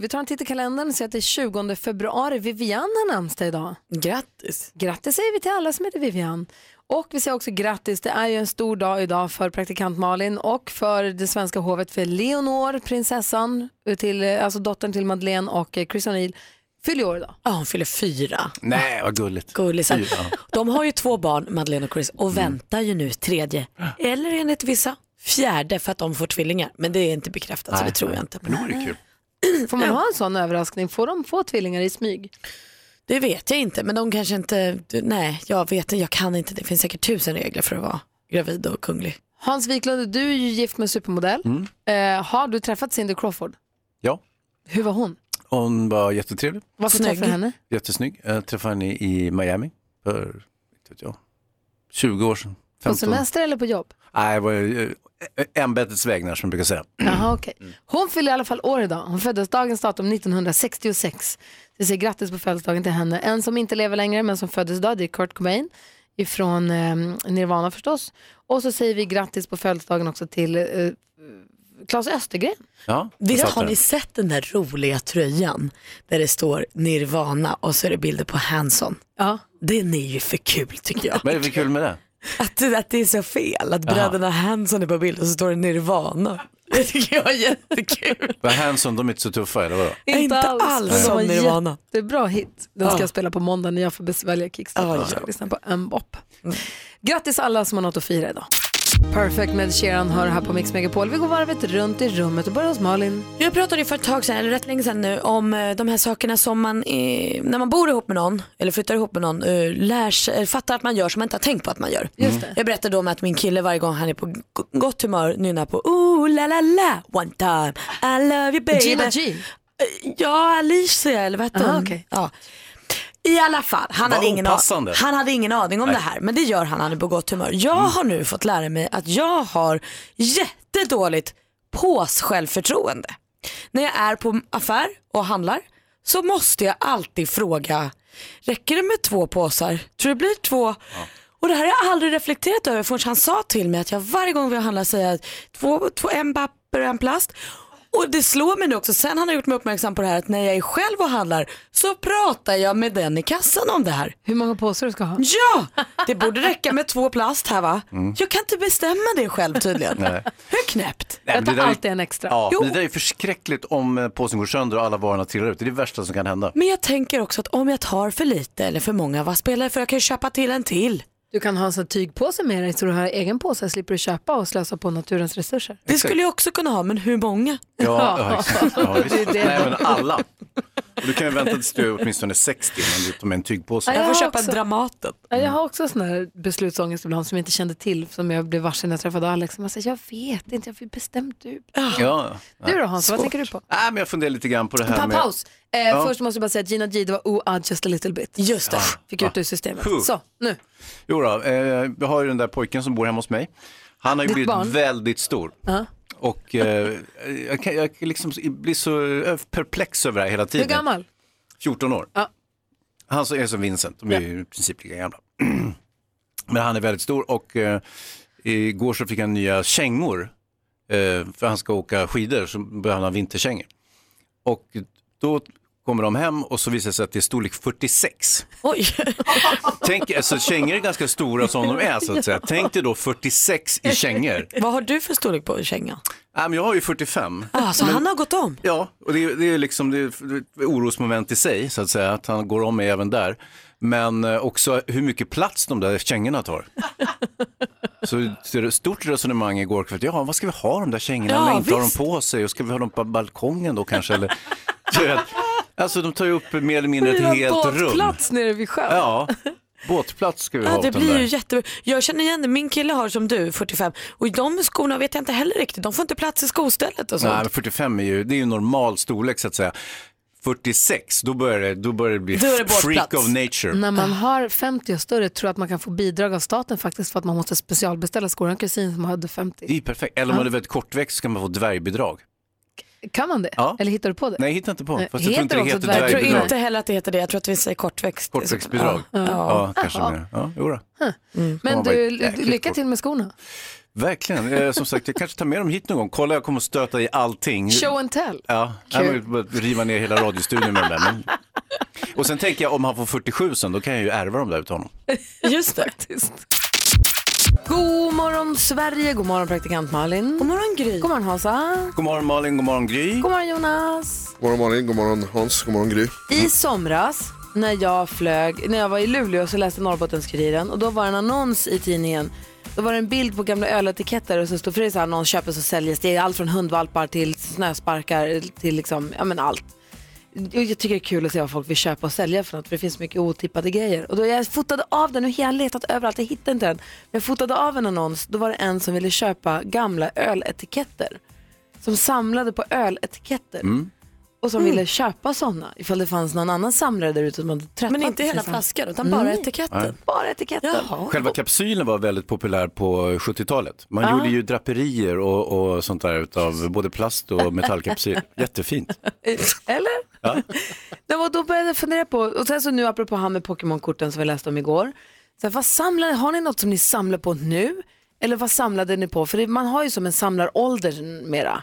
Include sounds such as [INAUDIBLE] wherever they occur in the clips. Vi tar en titt i kalendern och ser att det är 20 februari. Vivian har namnsdag idag. Grattis! Grattis säger vi till alla som heter Vivian. Och vi säger också grattis, det är ju en stor dag idag för praktikant Malin och för det svenska hovet för Leonor, prinsessan, till, alltså dottern till Madeleine och eh, Chris O'Neill, fyller år idag. Ja, hon fyller fyra. Nej, vad gulligt. Gullisen. Fyra. De har ju två barn, Madeleine och Chris, och Mm. väntar ju nu tredje. Eller enligt vissa, fjärde för att de får tvillingar. Men det är inte bekräftat så det tror jag inte på. Men det vore kul. [CLEARS THROAT] Får man ha en sån överraskning? Får de få tvillingar i smyg? Det vet jag inte, men de kanske inte, nej jag vet inte, jag kan inte. Det finns säkert tusen regler för att vara gravid och kunglig. Hans Wiklund, du är ju gift med en supermodell. Mm. Eh, har du träffat Cindy Crawford? Ja, Hur var hon? hon var jättetrevlig, Varför Snygg. träffade du henne? jättesnygg. Jag träffade henne i Miami för, inte vet jag, 20 år sedan. På 15. semester eller på jobb? Nej, det var eh, ämbetets vägnar som jag brukar [LAUGHS] säga. Jaha, okej. Mm. Hon fyller i alla fall år idag. Hon föddes dagens datum 1966. Vi säger grattis på födelsedagen till henne. En som inte lever längre men som föddes idag det är Kurt Cobain ifrån eh, Nirvana förstås. Och så säger vi grattis på födelsedagen också till eh, Claes Östergren. Ja, Visst har författaren. ni sett den där roliga tröjan där det står Nirvana och så är det bilder på Hanson? Ja. Den är ju för kul tycker jag. Vad är det för kul med det? Att, att det är så fel, att bröderna Hanson är på bild och så står det Nirvana. Det tycker jag är jättekul. Vad Hanson, de är inte så tuffa eller vadå? Inte alls. Men Som det var Nirvana. jättebra hit. Den ska Ja. jag spela på måndag när jag får besvälja Kickstarter. Ja, Jag ska ja. Mm. lyssna på M-bop. Grattis alla som har något att fira idag. Perfect med Sheeran hör här på Mix Megapol. Vi går varvet runt i rummet och börjar hos Malin. Jag pratade ju för ett tag sedan, eller rätt länge sedan nu, om eh, de här sakerna som man, eh, när man bor ihop med någon, eller flyttar ihop med någon, eh, lär sig, eh, fattar att man gör som man inte har tänkt på att man gör. Just det. Jag berättade då om att min kille varje gång han är på g- gott humör nynnar på ooh la la la one time I love you baby. Gina G. Eh, Ja, Alicia eller vad hette Ah, hon? okej. Ja. I alla fall, han Vad hade, ingen aning, opassande. Mm. han hade ingen aning om det här men det gör han, han är på gott humör. Jag har nu fått lära mig att jag har jättedåligt pås-självförtroende. När jag är på affär och handlar så måste jag alltid fråga, räcker det med två påsar? Tror du det blir två? Och det här har jag aldrig reflekterat över förrän han sa till mig att jag varje gång vi handlar säger två, två, en papper och en plast. Och det slår mig nu också, sen han har gjort mig uppmärksam på det här att när jag är själv och handlar så pratar jag med den i kassan om det här. Hur många påsar du ska ha? Ja, det borde räcka med två plast här va? Mm. Jag kan inte bestämma det själv tydligen. Hur knäppt? Nej, men Jag det tar där är- alltid en extra. Ja, Jo. men det där är ju förskräckligt om eh, påsen går sönder och alla varorna trillar ut. Det är det värsta som kan hända. Men jag tänker också att om jag tar för lite eller för många, vad spelar det för? Jag kan ju köpa till en till. Du kan ha en sån här alltså, tygpåse med dig så du har egen påse slipper du köpa och slösa på naturens resurser. Det skulle jag också kunna ha, men hur många? Ja, ja, exakt. ja Det är visst. det. Nej, men alla. Och du kan ju vänta tills du är åtminstone 60 innan du tar med en tygpåse. Ja, Jag får jag köpa också. Dramaten. Ja, [LAUGHS] Jag har också sån här beslutsångest ibland som jag inte kände till som jag blev varse när jag träffade Alex. Man säger, jag vet inte, jag har bestämt du. Ja. Du då Hans, vad tänker du på? Nej, men jag funderar lite grann på det här Ta med... paus. Eh, Först måste jag bara säga att Gina G, det var oh, uh, just a little bit. Just det. Fick ut det ur systemet. Huh. Så, nu. Jo då, eh, vi har ju den där pojken som bor hemma hos mig. Han har ju Ditt blivit barn? väldigt stor. Och eh, jag, kan, jag kan liksom blir så eh, perplex över det här hela Hur tiden. gammal? 14 år. Ja. Han så är som Vincent, de är ju i princip lika gamla. [CLEARS THROAT] Men han är väldigt stor och eh, igår så fick han nya kängor. Eh, för han ska åka skidor så behöver han ha vinterkängor. Och då kommer de hem och så visar det sig att det är storlek 46. Oj, Tänk, alltså kängor är ganska stora som de är så att säga. Tänk dig då 46 i [LAUGHS] kängor. vad har du för storlek på kängan? Äh, men jag har ju 45. Ah, så han har gått om? Ja, och det, är- det är liksom det är ett orosmoment i sig så att säga, att han går om mig även där. Men eh, också hur mycket plats de där kängorna [LAUGHS] tar. Så det är ett stort resonemang igår kväll, ja vad ska vi ha de där kängorna Ja, när inte har dem visst. på sig och ska vi ha dem på balkongen då kanske? Eller, [LAUGHS] Du vet, alltså de tar ju upp mer eller mindre ett helt rum. båtplats nere vid sjön. Ja, båtplats ska vi ha Ja, åt det den blir där. ju jättebra. Jag känner igen det, min kille har som du, 45, och de skorna vet jag inte heller riktigt, de får inte plats i skostället och sånt. Nej, men 45 är ju, det är ju normal storlek så att säga. 46, då börjar det, då börjar det bli Då är det freak båtplats. of nature. När man har 50 och större tror jag att man kan få bidrag av staten faktiskt för att man måste specialbeställa skor. Jag har en kusin som hade 50. Det är ju perfekt. Eller om man är väldigt kortväxt så kan man få dvärgbidrag. Kan man det? Ja. Eller hittar du på det? Nej, hittar inte på. Nej, Fast jag tror inte det heter heter också dvärg- Jag tror dvärgbidrag. inte heller att det heter det. Jag tror att vi säger kortväxt. Kortväxtbidrag. Ja. Mm. Ja, kanske mer. Ja, jo då. Men Ja, du, vad jäkligt Eh, lycka kort. till med skorna. Verkligen. Eh, som sagt, jag kanske tar med dem hit någon gång. Kolla, jag kommer att stöta i allting. Show and tell. Ja, jag vill bara riva ner hela radiostudion med den där. Men... Och sen tänker jag om han får 47 sen, då kan jag ju ärva dem där utav honom. [LAUGHS] Just det. God morgon Sverige, god morgon praktikant Malin. God morgon Gry. God morgon Hansa. God morgon Malin, god morgon Gry. God morgon Jonas. God morgon Malin, god morgon Hans, god morgon Gry. I somras när jag flög, när jag var i Luleå så läste Norrbottenskuriren och då var det en annons i tidningen. Då var det en bild på gamla öletiketter och så stod för det så här, någon köpes och säljs. Det är allt från hundvalpar till snösparkar till liksom, ja men allt. jag jag tycker det är kul att se vad folk vill köpa och sälja för något för det finns mycket otippade grejer. Och då jag fotade av den, nu har jag letat överallt, jag hittade inte den. Men jag fotade av en annons, då var det en som ville köpa gamla öletiketter. Som samlade på öletiketter. Mm. Och som Mm. ville köpa sådana ifall det fanns någon annan samlare där ute som hade tröttnat. Men inte på hela sig. flaskan utan bara Nej. etiketten. Bara etiketten. Jaha. Själva kapsylen var väldigt populär på 70-talet. Man gjorde ju draperier och, och sånt där utav både plast och [LAUGHS] metallkapsyl. Jättefint. Eller? Ja. Det var, då började jag fundera på, och sen så nu apropå han med Pokémon-korten som vi läste om igår. Så här, vad samlar, har ni något som ni samlar på nu? Eller vad samlade ni på? För det, man har ju som en samlarålder mera.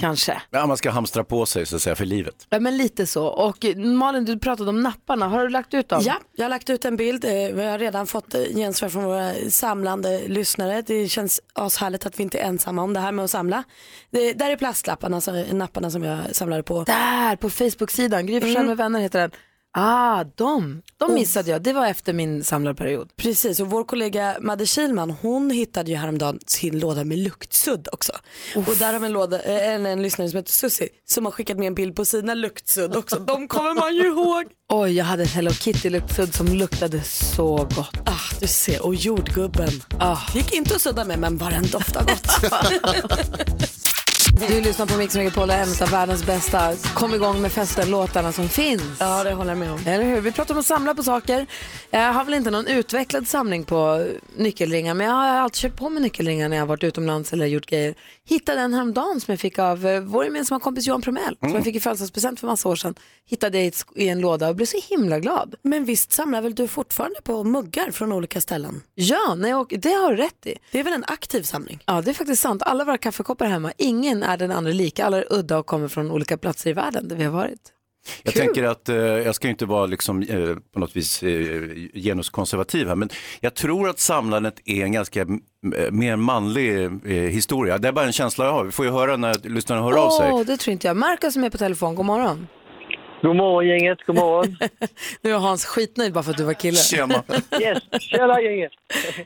Kanske. Mm, Ja, man ska hamstra på sig så att säga för livet. Ja, men lite så. Och eh, Malin, du pratade om napparna. Har du lagt ut dem? Ja, jag har lagt ut en bild. eh, Vi har redan fått eh, gensvar från våra samlande lyssnare. Det känns ashärligt att vi inte är ensamma om det här med att samla. Det, där är plastlapparna, alltså, napparna som jag samlade på. Mm. Där på Facebook-sidan, Gry Forssell med vänner heter den. Ah, de. De missade jag. Det var efter min samlarperiod. Precis, och vår kollega Madde Kilman, hon hittade ju häromdagen sin låda med luktsudd också. Och där har en, låda, eh, en, en lyssnare som heter Susie som har skickat med en bild på sina luktsudd också. De kommer man ju ihåg. [LAUGHS] Oj, jag hade ett Hello Kitty-luktsudd som luktade så gott. Ah, du ser, och jordgubben. Ah. Gick inte att sudda med men bara den doftar gott. Du lyssnar på Mix Megapol, en av världens bästa. Kom igång med festen-låtarna som finns. ja, det håller jag med om. Eller hur? Vi pratar om att samla på saker. Jag har väl inte någon utvecklad samling på nyckelringar, men jag har alltid köpt på mig nyckelringar när jag har varit utomlands eller gjort grejer. Hittade en häromdagen som jag fick av eh, vår gemensamma kompis Johan Promell, som jag fick i födelsedagspresent för massa år sedan. Hittade jag i ett sk- i en låda och blev så himla glad. Men visst [LAUGHS] samlar väl du fortfarande på muggar från olika ställen? Ja, när jag åker, det har du rätt i. Det är väl en aktiv samling? Ja, det är faktiskt sant. Alla våra kaffekoppar hemma, ingen är den andra lika. Alla är udda och kommer från olika platser i världen där vi har varit. Jag tänker att eh, jag ska ju inte vara liksom, eh, på något vis eh, genuskonservativ här, men jag tror att samlandet är en ganska m- eh, mer manlig eh, historia. Det är bara en känsla jag har. Vi får ju höra när lyssnarna hör av sig. Åh, det tror inte jag. Marcus som är på telefon, god morgon. God morgon gänget, god morgon. [LAUGHS] Nu är Hans skitnöjd bara för att du var kille. Tjena. Yes, tjena gänget.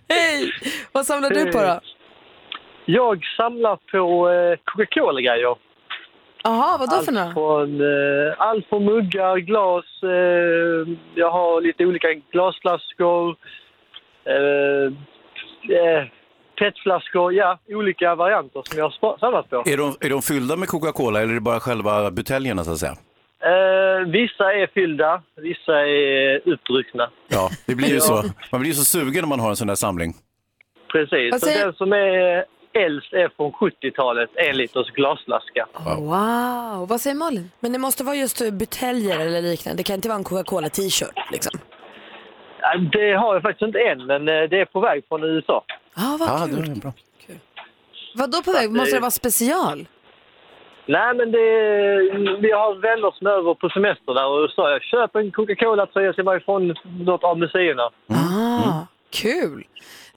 Hej! Vad samlar du på då? Eh, Jag samlar på eh, Coca-Cola-grejer. Jaha, vad då Ah, för några? Från, eh, allt från muggar, glas, eh, jag har lite olika glasflaskor, eh, eh, petflaskor, ja, olika varianter som jag har spa- samlat på. Är de, är de fyllda med Coca-Cola eller är det bara själva buteljerna så att säga? Eh, vissa är fyllda, vissa är utdruckna. Ja, det blir ju så. Man blir ju så sugen när man har en sån där samling. Precis, Vad så säger- den som är äldst är från 70-talet, en liters glasflaska. Wow, vad säger Malin? Men det måste vara just eh, buteljer eller liknande. Det kan inte vara en Coca-Cola-t-shirt liksom. Ja, Det har jag faktiskt inte än, men eh, det är på väg från USA. Ah, vad Ja, kul. det är bra. Vad då på väg? Måste det vara special? Nej, men det, vi har vänner som är över på semester där och sa jag köp en Coca-Cola-tröja till mig från något av museerna. Ah, kul.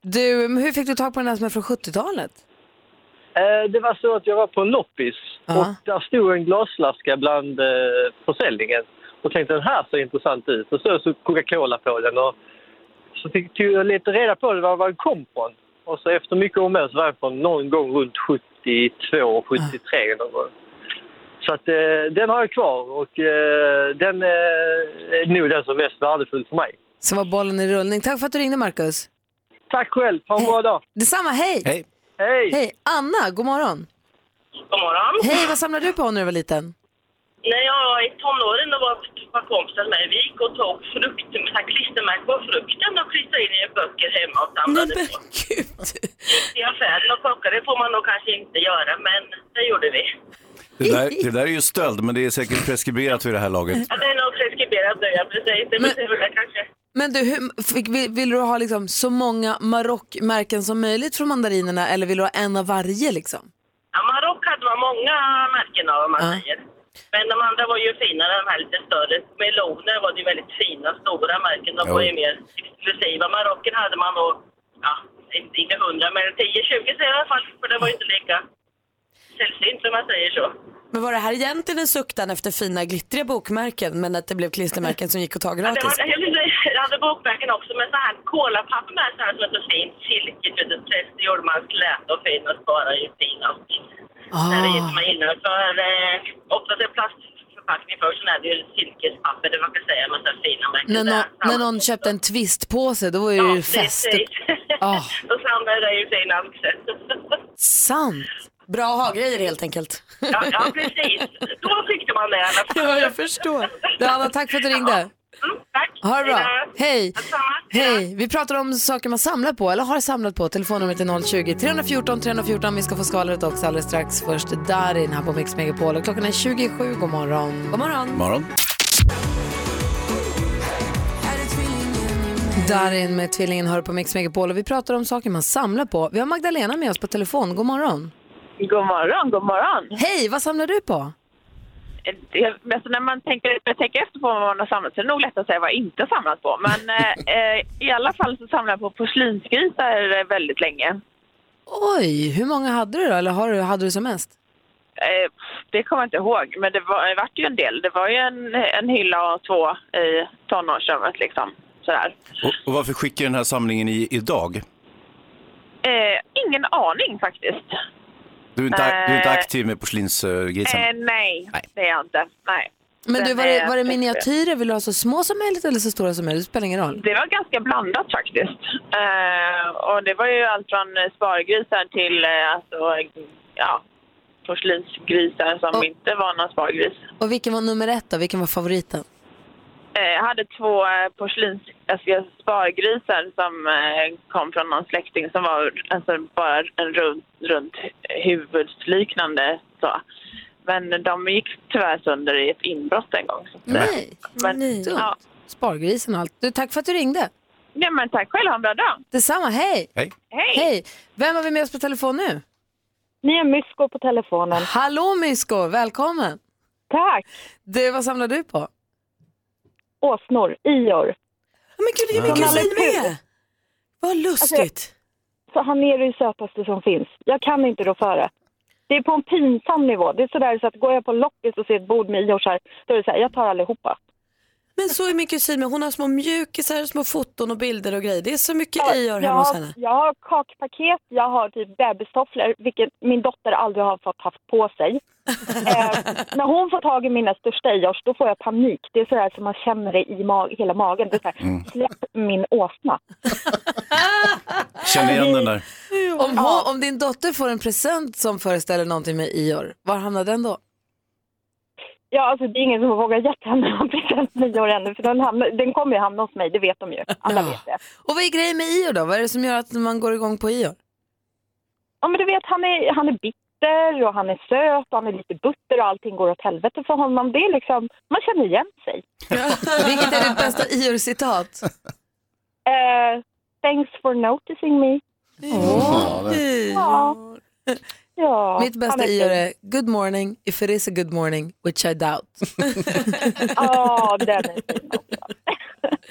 Du, men hur fick du tag på den här som är från 70-talet? Eh, det var så att jag var på en loppis Ja. och där stod en glasflaska bland eh, försäljningen och tänkte den här ser intressant ut. Och så stod Coca-Cola på den och så fick tog jag lite reda på det, var var den kom från. Och så efter mycket om och men så var den från någon gång runt 72, 73 någon gång. Så att eh, den har jag kvar och eh, den eh, är nog den som är mest värdefull för mig. Så var bollen i rullning. Tack för att du ringde Marcus. Tack själv, ha en bra dag. Detsamma, hej! Hej. Hej! Hej, Anna, god morgon. God morgon. Hej, vad samlar du på när du var liten? När jag var i tonåren då var var kompisar med Vi gick och tog frukt, så här klistermärken på frukten och klistrade in i böcker hemma och Nej samlade men på. gud. I affären och plockade det får man nog kanske inte göra, men det gjorde vi. Det där, det där är ju stöld, men det är säkert preskriberat vid det här laget. Ja, det är nog preskriberat nu, ja precis. Det betyder väl kanske. Men du, hur, fick, vill, vill du ha liksom så många Marockmärken som möjligt från mandarinerna eller vill du ha en av varje? Liksom? Ja, Marock hade man många märken av, om man Ja. säger. Men de andra var ju finare, de här lite större. Meloner var det ju väldigt fina, stora märken. De Jo. var ju mer exklusiva. Marocken hade man nog, ja, inte- inte hundra, men 10-20 så i alla fall. För det var ju inte lika sällsynt, om man säger så. Men var det här egentligen en suktan efter fina glittriga bokmärken men att det blev klistermärken som gick att ta Det var, gratis? [LAUGHS] jag vill säga, jag hade bokmärken också med så här kolapapper med, så här som är så fint silkigt. vet du, Test gjorde man slät och fin och sparade ju fin och Ah. Sen reser man innanför, eh, oftast är det plastförpackning först, sen är det ju silkespapper, det man kan säga, med så här fina märken. När, någon, där. när någon köpte en twistpåse då var det ju fest. [LAUGHS] Ja, precis. Ah. Då samlade jag det i fina axel. Sant! Bra ha-grejer helt enkelt. ja, ja, precis. Då tyckte man det i alla fall. Ja, jag förstår. Du, Anna, tack för att du ringde. Mm, tack. Ha det bra. Hejdå. Hej. Detsamma. Hej. Vi pratar om saker man samlar på eller har samlat på. Telefonnumret är 020-314 314. Vi ska få skvallret också alldeles strax. Först Darin här på Mix Megapol. Och klockan är 27. God morgon. God morgon. Morgon. Darin med Tvillingen hör på Mix Megapol. Och vi pratar om saker man samlar på. Vi har Magdalena med oss på telefon. God morgon. God morgon, god morgon. Hej, vad samlar du på? det, men alltså när man tänker, när jag tänker efter på vad man har samlat så är det nog lätt att säga vad jag inte har samlat på. [LAUGHS] Men eh, eh, i alla fall så samlar jag på porslinsgrisar eh, väldigt länge. Oj, hur många hade du då? Eller har du, hade du som mest? Eh, pff, det kommer jag inte ihåg, men det, var, det vart ju en del. Det var ju en, en hylla och två i tonårsrummet liksom. Sådär. Och, och varför skickar den här samlingen i, idag? Eh, ingen aning faktiskt. Du är inte, du är inte Eh, aktiv med porslinsgrisen? Eh, nej, Nej. det är jag inte. Nej. Men Den du, var det, är- var det miniatyrer? Vill du ha så små som möjligt eller så stora som möjligt? Det spelar ingen roll. Det var ganska blandat faktiskt. Eh, och det var ju allt från eh, spargrisar till eh, alltså, eh, ja, porslinsgrisar som Och- inte var någon spargris. Och vilken var nummer ett då? Vilken var favoriten? Eh, jag hade två eh, porslins, alltså, spargrisar som eh, kom från någon släkting som var alltså, bara en rund, runt huvudliknande så. Men de gick tyvärr sönder i ett inbrott en gång. Så. Nej, Men, dumt. ja. Spargrisen och allt. Du, tack för att du ringde. ja, men tack själv. Ha en bra dag. Detsamma, hej! Hej. Hej! Hej! Vem har vi med oss på telefon nu? Ni har Mysko på telefonen. Hallå Mysko, välkommen! Tack! Du, vad samlar du på? Åsnor, ior. Men gud, det gjorde min kusin med. Vad lustigt. Alltså, Så han är det sötaste som finns. Jag kan inte rå för det. Det är på en pinsam nivå. Det är sådär så att går jag på loppis och ser ett bord med ior så här, då är det så här, jag tar allihopa. Men så är min kusin med. Hon har små mjukisar, små foton och bilder och grejer. Det är så mycket Ja, i gör jag, hemma hos har, henne. jag har kakpaket, jag har typ bebistofflor, vilket min dotter aldrig har fått haft på sig. [LAUGHS] eh, när hon får tag i mina största iors, då får jag panik. Det är sådär som man känner det i ma- hela magen. Det är såhär, släpp min åsna. Känner igen den där. Om, hon, om din dotter får en present som föreställer någonting med Ior, var hamnar den då? Ja, alltså det är ingen som vågar gett henne någon present nio år ännu, för den, hamnar, den kommer ju hamna hos mig, det vet de ju. Alla Ja. vet det. Och vad är grejen med Ior då? Vad är det som gör att man går igång på Ior? Ja, men du vet, han är, han är bitter och han är söt och han är lite butter och allting går åt helvete för honom. Det är liksom, man känner igen sig. Vilket är ditt bästa [LAUGHS] Ior-citat? Eh, thanks for noticing me. Ja. Ja, Mitt han bästa är Ior fin. är Good morning, if it is a good morning, which I doubt. [LAUGHS] Ja, den är fin också. [LAUGHS]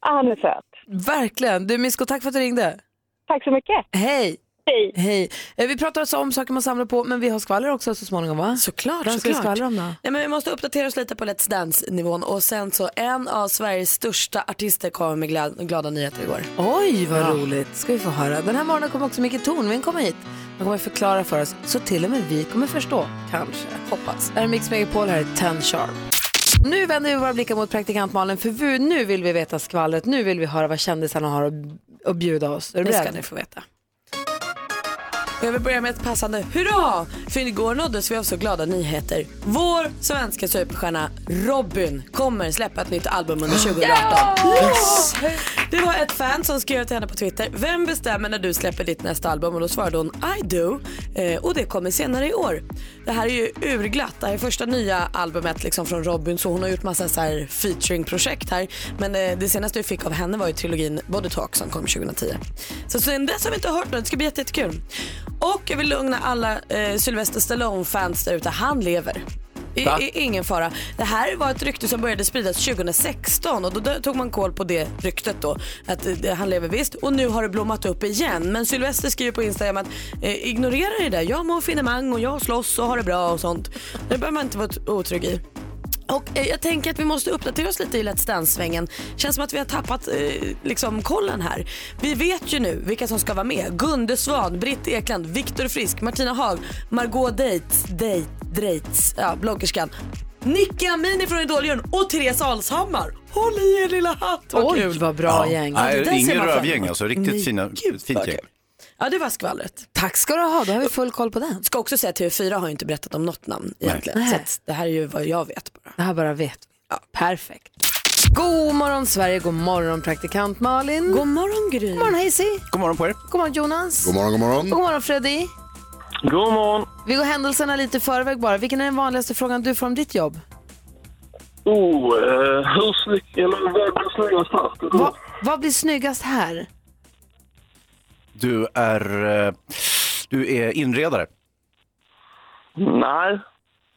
Ja, Han är söt. Verkligen! Du Mysko, tack för att du ringde. Tack så mycket. Hej! Hej. Hej. Eh, Vi pratar alltså om saker man samlar på, men vi har skvaller också så småningom va? Såklart, Vem ska vi såklart. skvallra om då? Nej, men vi måste uppdatera oss lite på Let's Dance-nivån och sen så en av Sveriges största artister kom med glada, glada nyheter igår. Oj, vad roligt. Ska vi få höra. Den här morgonen kommer också Micke Tornving komma hit. Han kommer förklara för oss, så till och med vi kommer förstå. Kanske. Hoppas. Det här är Mix Megapol, här är 10 Sharp. Nu vänder vi våra blickar mot praktikant Malin, för vi- nu vill vi veta skvallret. Nu vill vi höra vad kändisarna har att- att bjuda oss. Är du Det ska beredd? ni få veta. Och Och jag vill börja med ett passande hurra! För igår nåddes vi av så glada nyheter. Vår svenska superstjärna Robin kommer släppa ett nytt album under 2018. Yes! Det var ett fan som skrev till henne på Twitter. Vem bestämmer när du släpper ditt nästa album? Och då svarade hon I do. Eh, och det kommer senare i år. Det här är ju urglatt. Det här är första nya albumet liksom från Robin. Så hon har gjort massa så här featuring-projekt här. Men eh, det senaste vi fick av henne var ju trilogin Body Talk som kom 2010. Så sen dess har vi inte hört något. Det ska bli jätte- jättekul. Och jag vill lugna alla eh, Sylvester Stallone-fans där ute. Han lever. I, Va? i, ingen fara. Det här var ett rykte som började spridas 2016 och då dö- tog man koll på det ryktet då. Att eh, det- han lever visst och nu har det blommat upp igen. Men Sylvester skriver på Instagram att eh, ignorera det där. Jag mår finemang och jag slåss och har det bra och sånt. Det behöver man inte vara t- otrygg i. Och eh, jag tänker att vi måste uppdatera oss lite i Let's Dance-svängen. Känns som att vi har tappat eh, liksom kollen här. Vi vet ju nu vilka som ska vara med. Gunde Svan, Britt Ekland, Viktor Frisk, Martina Haag, Margot Deitz, Deit, Dreitz, ja, bloggerskan. Nicky Amini från idol och Therese Alshammar. Håll i er lilla hatt, vad Oj, kul. vad bra Ja. gäng. det där ser Nej, ingen man fram rövgäng emot. alltså, riktigt fina, fint gäng. Ja, det var skvallret. Tack ska du ha, då har vi full koll på den. Ska också säga att TV4 har ju inte berättat om något namn egentligen. Nej. Så att det här är ju vad jag vet bara. Det här bara vet vi. Perfekt. God morgon Sverige, god morgon praktikant Malin. God morgon Gry. God morgon Hazy. God morgon på er. God morgon Jonas. God morgon, god morgon. Och god morgon Freddy. God morgon. Vi går händelserna lite i förväg bara. Vilken är den vanligaste frågan du får om ditt jobb? Oh, eh, hur snygg, eller vad blir snyggast här? Va, vad blir snyggast här? Du är, eh, du är inredare. Nej.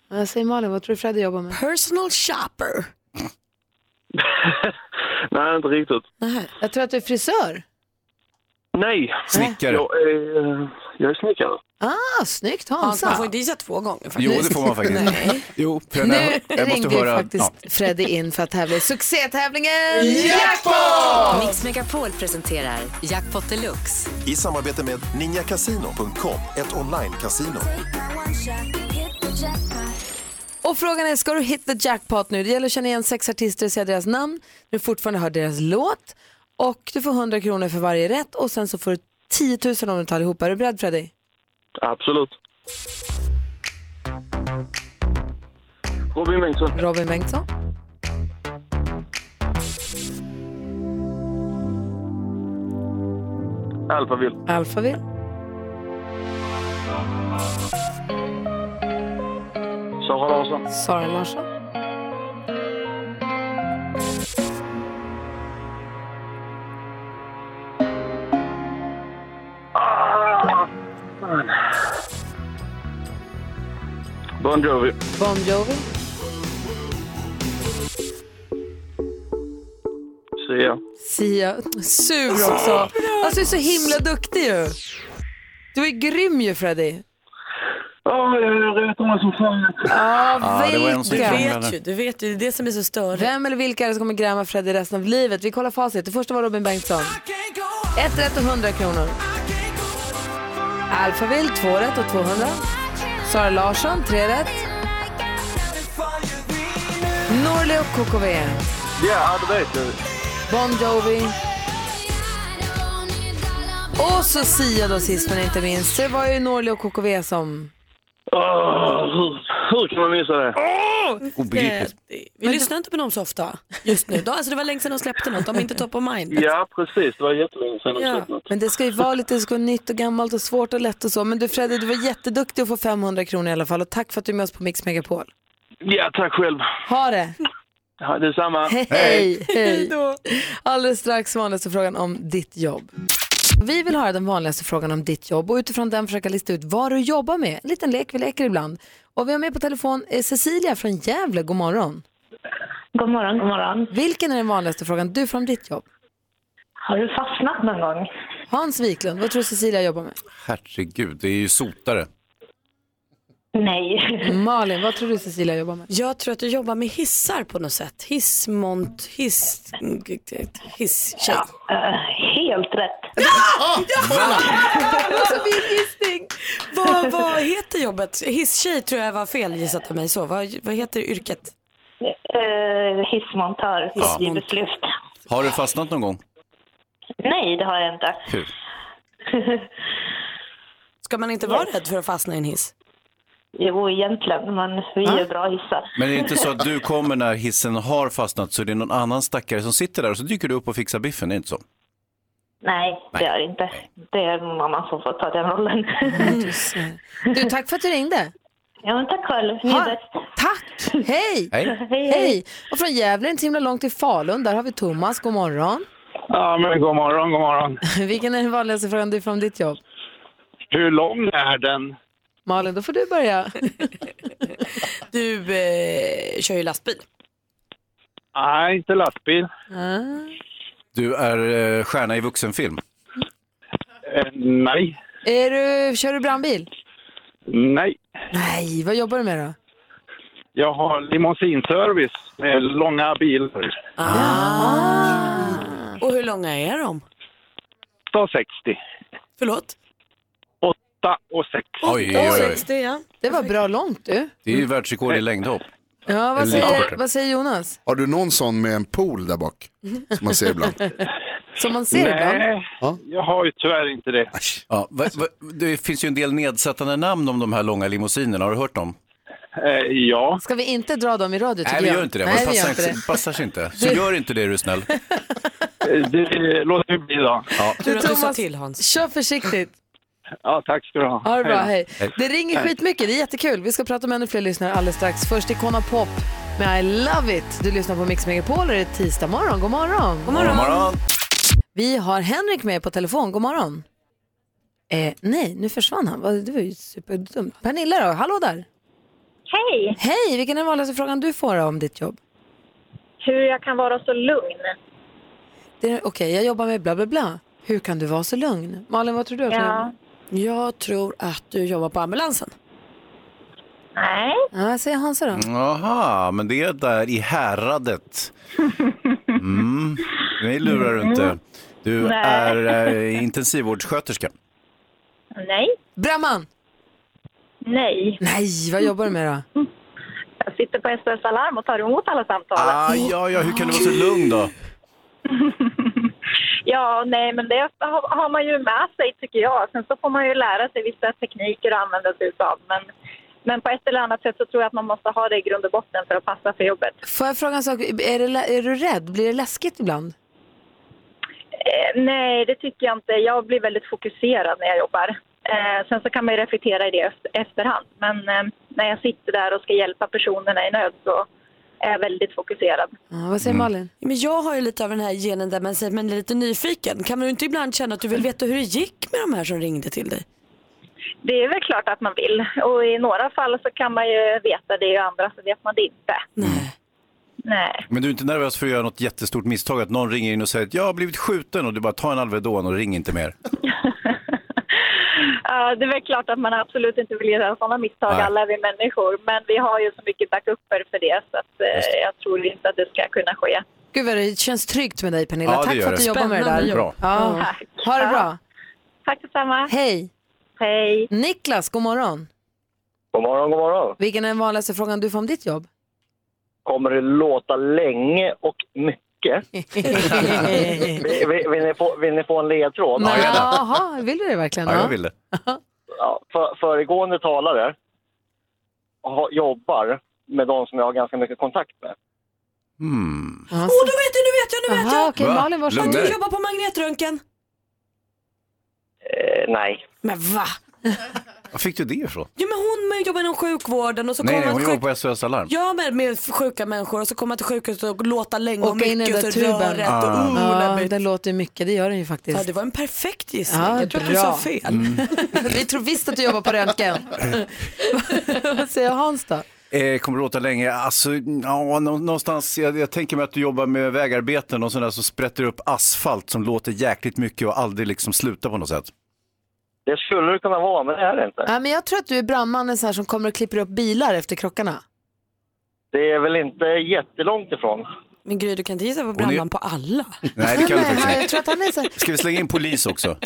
Jag säger Malin, vad tror du Freddy jobbar med? Personal shopper. Nej, inte riktigt. Jag tror att du är frisör. Nej. Snickare. Jag är, eh, jag är snickare. Ah, snyggt Hansa. Man får inte gissa två gånger faktiskt. Jo, det får man faktiskt. Nej. Jo, för Nu jag, jag måste ringde ju höra. faktiskt Freddy in för att tävla i succétävlingen Jackpot! Mix Megapol presenterar Jackpot Deluxe. I samarbete med ninjakasino.com, ett online-casino. Och frågan är, ska du hit the jackpot nu? Det gäller att känna igen sex artister och säga deras namn. Du fortfarande hör deras låt. Och du får 100 kronor för varje rätt och sen så får du 10 000 om du tar allihopa. Är du beredd Freddy? Absolut. Robin Bengtsson. Robin Bengtsson. Alphaville. Alphaville. Sara Larsson. Sara Larsson. Bon Jovi. Bon Jovi. Sia. Sia. Sur också. Alltså du är så himla duktig ju. Du är grym ju Freddy. Ja, jag är rätt många som fan. Ja, Ja, det var en som vilka? krånglade. Du vet ju, du vet ju, det är det som är så störigt. Vem eller vilka är det som kommer gräma Freddy resten av livet? Vi kollar facit. Det första var Robin Bengtsson. Ett rätt och 100 kronor. Alphaville, två rätt och 200. Sara Larsson, tre rätt. Norli och KKV. Ja, det vet du. Bon Jovi. Och så Sia då sist men inte minst. Det var ju Norli och KKV som... Åh, hur, hur kan man missa det? Obegripligt. Vi lyssnar inte på dem så ofta just nu. Då, alltså, det var länge sedan de släppte något. De är inte top of mind. Ja, precis. Det var jättelänge sedan de Ja. släppte något. Men det ska ju vara lite det ska vara nytt och gammalt och svårt och lätt och så. Men du Freddy, du var jätteduktig att få 500 kronor i alla fall och tack för att du är med oss på Mix Megapol. Ja, tack själv. Ha det! Ja, detsamma. Hej! Hej! Alldeles strax vanligaste frågan om ditt jobb. Vi vill höra den vanligaste frågan om ditt jobb och utifrån den försöka lista ut vad du jobbar med. En liten lek vi leker ibland. Och vi har med på telefon eh, Cecilia från Gävle. God morgon. God morgon, god morgon. Vilken är den vanligaste frågan du får om ditt jobb? Har du fastnat någon gång? Hans Wiklund, vad tror du Cecilia jobbar med? Herregud, det är ju sotare. [LAUGHS] Nej. Malin, vad tror du Cecilia jobbar med? Jag tror att du jobbar med hissar på något sätt. Hissmont, hiss... Hisstjej. eh, helt rätt. Ah! Ja! Va? Alltså min gissning. [LAUGHS] Vad, vad heter jobbet? Hisstjej tror jag var fel gissat av mig så. Vad, vad heter yrket? Uh, hissmontör, Ja. hissgivetlyft. Har du fastnat någon gång? Nej, det har jag inte. Hur? [LAUGHS] Ska man inte vara rädd för att fastna i en hiss? Jo, egentligen, men vi är bra hissar. Men är det inte så att du kommer när hissen har fastnat så är det någon annan stackare som sitter där och så dyker du upp och fixar biffen, är det inte så? Nej, det är det inte. Det är någon annan som får ta den rollen. Mm, [LAUGHS] Du, tack för att du ringde. Ja, men tack själv. Ni Ha, är bäst. [LAUGHS] tack! Hej! Hej. Hej, Hej! Och från Gävle, inte så himla långt till Falun, där har vi Thomas. God morgon. Ja, men god morgon, god [LAUGHS] morgon. Vilken är den vanligaste frågan du får om ditt jobb? Hur lång är den? Malin, då får du [LAUGHS] börja. Du eh, kör ju lastbil. Nej, inte lastbil. Ah. Du är eh, stjärna i vuxenfilm? Eh, nej. Är du, kör du brandbil? Nej. Nej, vad jobbar du med då? Jag har limousinservice med långa bilar. [LAUGHS] Och hur långa är de? 8,60. Förlåt? 8 och 6. Oj, oj, oj. ja. Det var bra långt du. Det är ju världsrekord i längdhopp. Ja, vad Eller säger, kortare. vad säger Jonas? Har du någon sån med en pool där bak? Som man ser ibland. Som man ser ibland. jag har ju tyvärr inte det. Ja, va, va, det finns ju en del nedsättande namn om de här långa limousinerna, har du hört dem? Eh, ja. Ska vi inte dra dem i radio? Nej, tycker vi jag? gör inte det. Nej, det vi passar, gör inte inte- det. passar sig inte. Så Du- gör inte det, är du [LAUGHS] snäll. Det låter vi bli då. Ja. Du Thomas, kör försiktigt. Ja, tack ska du ha. Ha det bra, hej. Det ringer Hej. skitmycket, det är jättekul. Vi ska prata med ännu fler lyssnare alldeles strax. Först Icona Pop med I Love It. Du lyssnar på Mix Megapol och det är tisdag morgon. God morgon. God morgon. God morgon. Vi har Henrik med på telefon. God morgon. Eh, nej, nu försvann han. Vad- Det var ju superdumt. Pernilla då, hallå där. Hej! Hej, vilken är den vanligaste frågan du får om ditt jobb? Hur jag kan vara så lugn. Det är- Okej, jag jobbar med bla bla bla. Hur kan du vara så lugn? Malin, vad tror du? att jag Ja. jobbar med? Jag tror att du jobbar på ambulansen. Nej. Ja, säger Hansa då. Jaha, men det är där i häradet. Mm. Nej, lurar du inte. Du Nej. är eh, intensivvårdssköterska. Nej. Bramman! Nej. Nej, vad jobbar du med då? [LAUGHS] Jag sitter på SOS Alarm och tar emot alla samtal. Ah, ja, ja, hur kan du vara så lugn då? [LAUGHS] Ja, nej, men det har har man ju med sig tycker jag. Sen så får man ju lära sig vissa tekniker att använda sig utav. Men, men på ett eller annat sätt så tror jag att man måste ha det i grund och botten för att passa för jobbet. Får jag fråga en sak? Är, det, lä- är du rädd? Blir det läskigt ibland? Eh, nej, det tycker jag inte. Jag blir väldigt fokuserad när jag jobbar. Eh, sen så kan man ju reflektera i det efter- efterhand. Men eh, när jag sitter där och ska hjälpa personerna i nöd så är jag väldigt fokuserad. vad Mm. säger Malin? Men jag har ju lite av den här genen där man säger att man är lite nyfiken. Kan du inte ibland känna att du vill veta hur det gick med de här som ringde till dig? Det är väl klart att man vill. Och i några fall så kan man ju veta det, i andra så vet man det inte. Mm. Nej. Men du är inte nervös för att göra något jättestort misstag, att någon ringer in och säger att jag har blivit skjuten och du bara tar en Alvedon och ring inte mer. Ja, det är väl klart att man absolut inte vill göra sådana misstag, Nej. alla är vi människor. Men vi har ju så mycket backuper för det så att, Just eh, jag tror inte att det ska kunna ske. Gud vad det känns tryggt med dig Pernilla. Ja, det Tack gör för att du det. jobbar med det där. Spännande jobb. Ja. Tack. Ha det bra. Mm. Tack detsamma. Hej. Hej. Niklas, god morgon. God morgon, god morgon. Vilken är den vanligaste frågan du får om ditt jobb? Kommer det låta länge och mycket? vill, vill, vill, ni få, vill ni få en ledtråd? Jaha, vill du det verkligen? Ja. ville. Ja, för, föregående talare har, jobbar med de som jag har ganska mycket kontakt med. Mm. [LAUGHS] Åh, oh, nu vet jag, nu vet jag, nu vet Aha, jag! okej, Va? Malin, varsågod. Att Lugna du dig. jobbar på magnetröntgen. Eh, nej. Men va? Var fick du det ifrån? Jo men hon med- jobbar inom sjukvården och så nej, kommer nej, hon man jobbar sjuk... på SOS Alarm. Ja men med sjuka människor och så kommer man till sjukhuset och låta länge och Åka in i mycket och den där så röret tuben. och oh, Ja, läbbigt. den låter ju mycket, det gör den ju faktiskt. Ja det var en perfekt gissning. Ja, jag tror att du bra. sa fel. Mm. [LAUGHS] [LAUGHS] Vi tror visst att du jobbar på röntgen. [LAUGHS] Vad säger Hans då? Eh, kommer det låta länge? Alltså, ja, nå- någonstans, jag, jag tänker mig att du jobbar med vägarbeten och sådär som sprätter upp asfalt som låter jäkligt mycket och aldrig liksom slutar på något sätt. Det skulle det kunna vara, men det är det inte. Ja, men jag tror att du är brandmannen så här som kommer och klipper upp bilar efter krockarna. Det är väl inte jättelångt ifrån. Men Gry du kan inte gissa på är- brandman på alla. Nej, det kan du faktiskt jag inte. tror att han är så här, Ska vi slänga in polis också? [LAUGHS]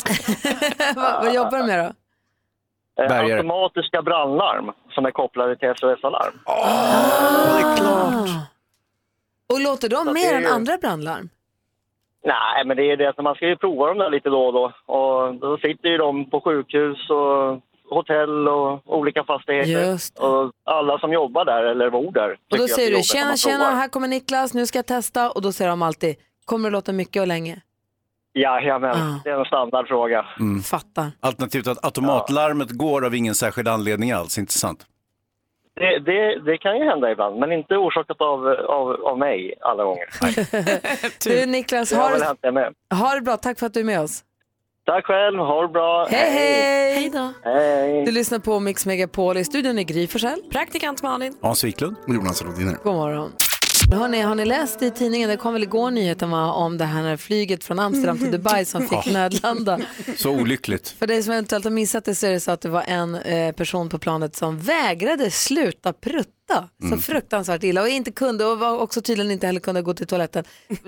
vad, vad jobbar du med då? Eh, Bergare. automatiska brandlarm som är kopplade till SOS Alarm. Ah! Och låter de Så mer det- än andra brandlarm? Nej, men det är det att man ska ju prova dem där lite då och då. Och då sitter ju de på sjukhus och hotell och olika fastigheter. Just Och alla som jobbar där eller bor där. Och tycker då att säger det är du jobbigt när tjena man tjena, provar. här kommer Niklas, nu ska jag testa och då säger de alltid kommer det låta mycket och länge? Jajamän, det är en standardfråga. Fattar. Mm. Alternativt att automatlarmet går av ingen särskild anledning alls, inte sant? Det, det, det kan ju hända ibland, men inte orsakat av, av, av mig alla [LAUGHS] gånger. Du Niklas, Det har ha väl det, hänt det med. ha det bra, tack för att du är med oss. Tack själv, ha det bra. Hej hej! Hej. Du lyssnar på Mix Megapol, i studion är Gry Forssell. Praktikant Malin. Hans Wiklund. Jonas Rodiner. God morgon. Hörrni, har ni läst i tidningen, det kom väl igår nyheten va, om det här när flyget från Amsterdam [LAUGHS] till Dubai som fick Ja. nödlanda. Så olyckligt. För dig som eventuellt har missat det så är det så att det var en eh, person på planet som vägrade sluta prutta så Mm. fruktansvärt illa och inte kunde och var också tydligen inte heller kunde gå till toaletten.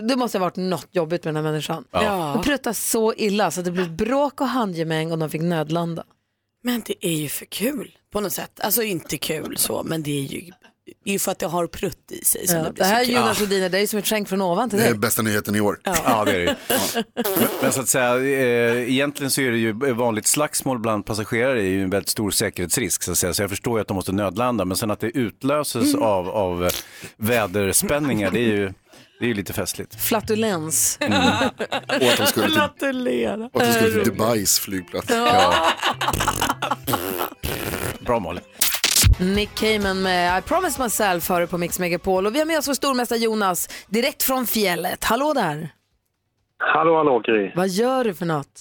Det måste ha varit något jobbigt med den här människan. Ja. Ja. Och prutta så illa så att det blev bråk och handgemäng och de fick nödlanda. Men det är ju för kul på något sätt. Alltså inte kul så, men det är ju, det är ju för att det har prutt i sig som Ja, det Eh, det blir här så kul. Jonas Rhodin, det är ju som ett skänk från ovan till Det är dig. bästa nyheten i år. Ja, det är det ju. Men, men så att säga, eh, egentligen så är det ju vanligt slagsmål bland passagerare är ju en väldigt stor säkerhetsrisk så att säga. Så jag förstår ju att de måste nödlanda, men sen att det utlöses Mm. av, av eh, väderspänningar, det är ju det är ju lite festligt. Flatulens. [LAUGHS] Mm. Och att de skulle till- Gratulera. Och att du skulle till Dubais flygplats. Ja. [LAUGHS] Bra Malin. Nick Cayman med I promise myself hör du på Mix Megapol och vi har med oss vår stormästare Jonas direkt från fjället. Hallå där! Hallå, hallå Gry. Vad gör du för något?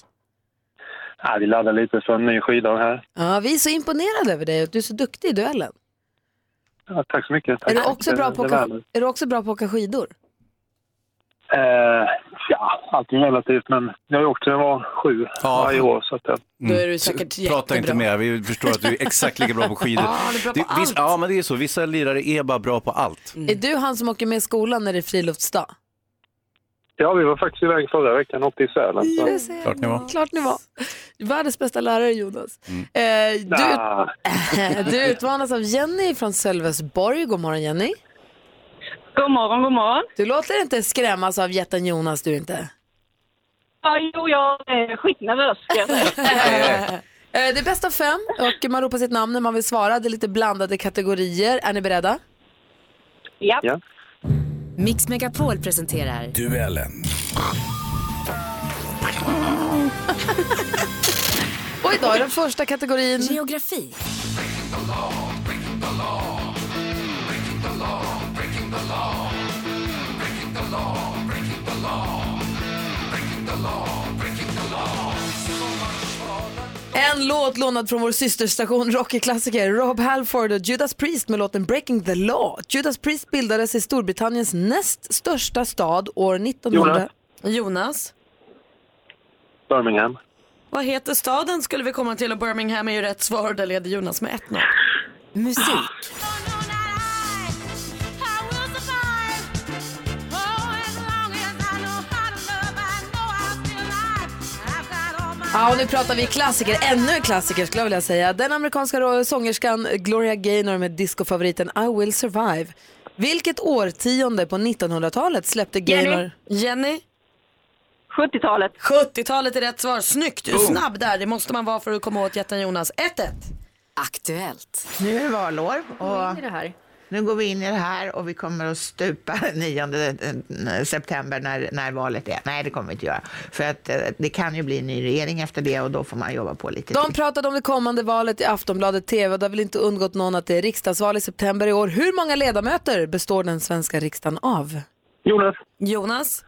Ja, vi laddar lite för en ny skida här. Ja, vi är så imponerade över dig och du är så duktig i duellen. Ja, tack så mycket. Är du, Tack. också bra Det- på att det åka, värmer. är du också bra på att åka skidor? Eh, ja, allt är relativt, men jag har ju åkt sedan jag var sju varje år. Så att jag... Då är du säkert Mm. Prata inte mer, jättebra. vi förstår att du är exakt lika bra på skidor. Ja, han är bra på Det- allt. ja, men det är så. Vissa lirare är bara bra på allt. Mm. Är du han som åker med i skolan när det är friluftsdag? Ja, vi var faktiskt iväg förra veckan och åkte i Sälen. Så... Jag ser. Klart ni var. Klart ni var. Världens bästa lärare Jonas. Mm. Eh, du, Ah, [LAUGHS] du utmanas av Jenny från Sölvesborg. God morgon Jenny. God morgon, god morgon. Du låter inte skrämmas av jätten Jonas du inte. Eh, Ja, jo, jag är skitnervös. ska [LAUGHS] jag säga. Eh, Det är bäst av fem och man ropar sitt namn när man vill svara. Det är lite blandade kategorier. Är ni beredda? Ja. ja. Mix Megapol presenterar... Duellen. Och idag är den första kategorin... Geografi. En låt lånad från vår systerstation Rocky-klassiker Rob Halford och Judas Priest med låten Breaking the Law. Judas Priest bildades i Storbritanniens näst största stad år 1900... Jonas, Birmingham. vad heter staden skulle vi komma till och Birmingham är ju rätt svar. Där leder Jonas med 1-0. Musik. Ja, och nu pratar vi klassiker, ännu en klassiker skulle jag vilja säga. Den amerikanska ro- sångerskan Gloria Gaynor med discofavoriten I will survive. Vilket årtionde på 1900-talet släppte Gaynor? Jenny? 70-talet. 70-talet är rätt svar. Snyggt, du är Boom. snabb där. Det måste man vara för att komma åt jätten Jonas. 1-1. Aktuellt. Nu är det valår och Nu är det här. nu går vi in i det här och vi kommer att stupa [LAUGHS] 9 september när, när valet är. Nej, det kommer vi inte göra. För att eh, det kan ju bli en ny regering efter det och då får man jobba på lite De pratade om det kommande valet i Aftonbladet TV och det har väl inte undgått någon att det är riksdagsval i september i år. Hur många ledamöter består den svenska riksdagen av? Jonas, Jonas?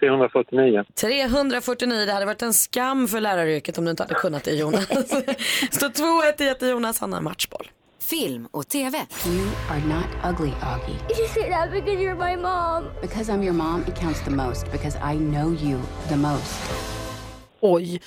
349. 349, det hade varit en skam för läraryrket om du inte hade kunnat det Jonas. Står 2-1 till jätte Jonas, han har matchboll. Film och TV. You are not ugly, Augie. You say that because you're my mom. Because I'm your mom, it counts the most. Because I know you the most. Oj.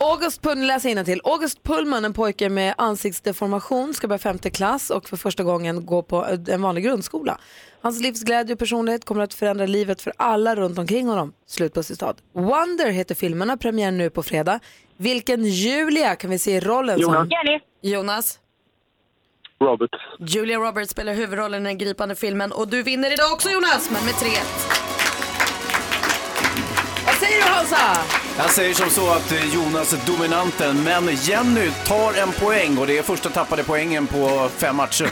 August Pullman, läs till. August Pullman, en pojke med ansiktsdeformation, ska börja femte klass och för första gången gå på eh, en vanlig grundskola. Hans livsglädje och personlighet kommer att förändra livet för alla runt omkring honom. Slut på stad. Wonder heter filmerna, premiär nu på fredag. Vilken Julia kan vi se i rollen som... Jonas. Robert. Julia Roberts spelar huvudrollen i den gripande filmen och du vinner idag också Jonas, men med 3-1. Vad säger du Hansa? Jag säger som så att eh, Jonas är dominanten, men Jenny tar en poäng och det är första tappade poängen på fem matcher.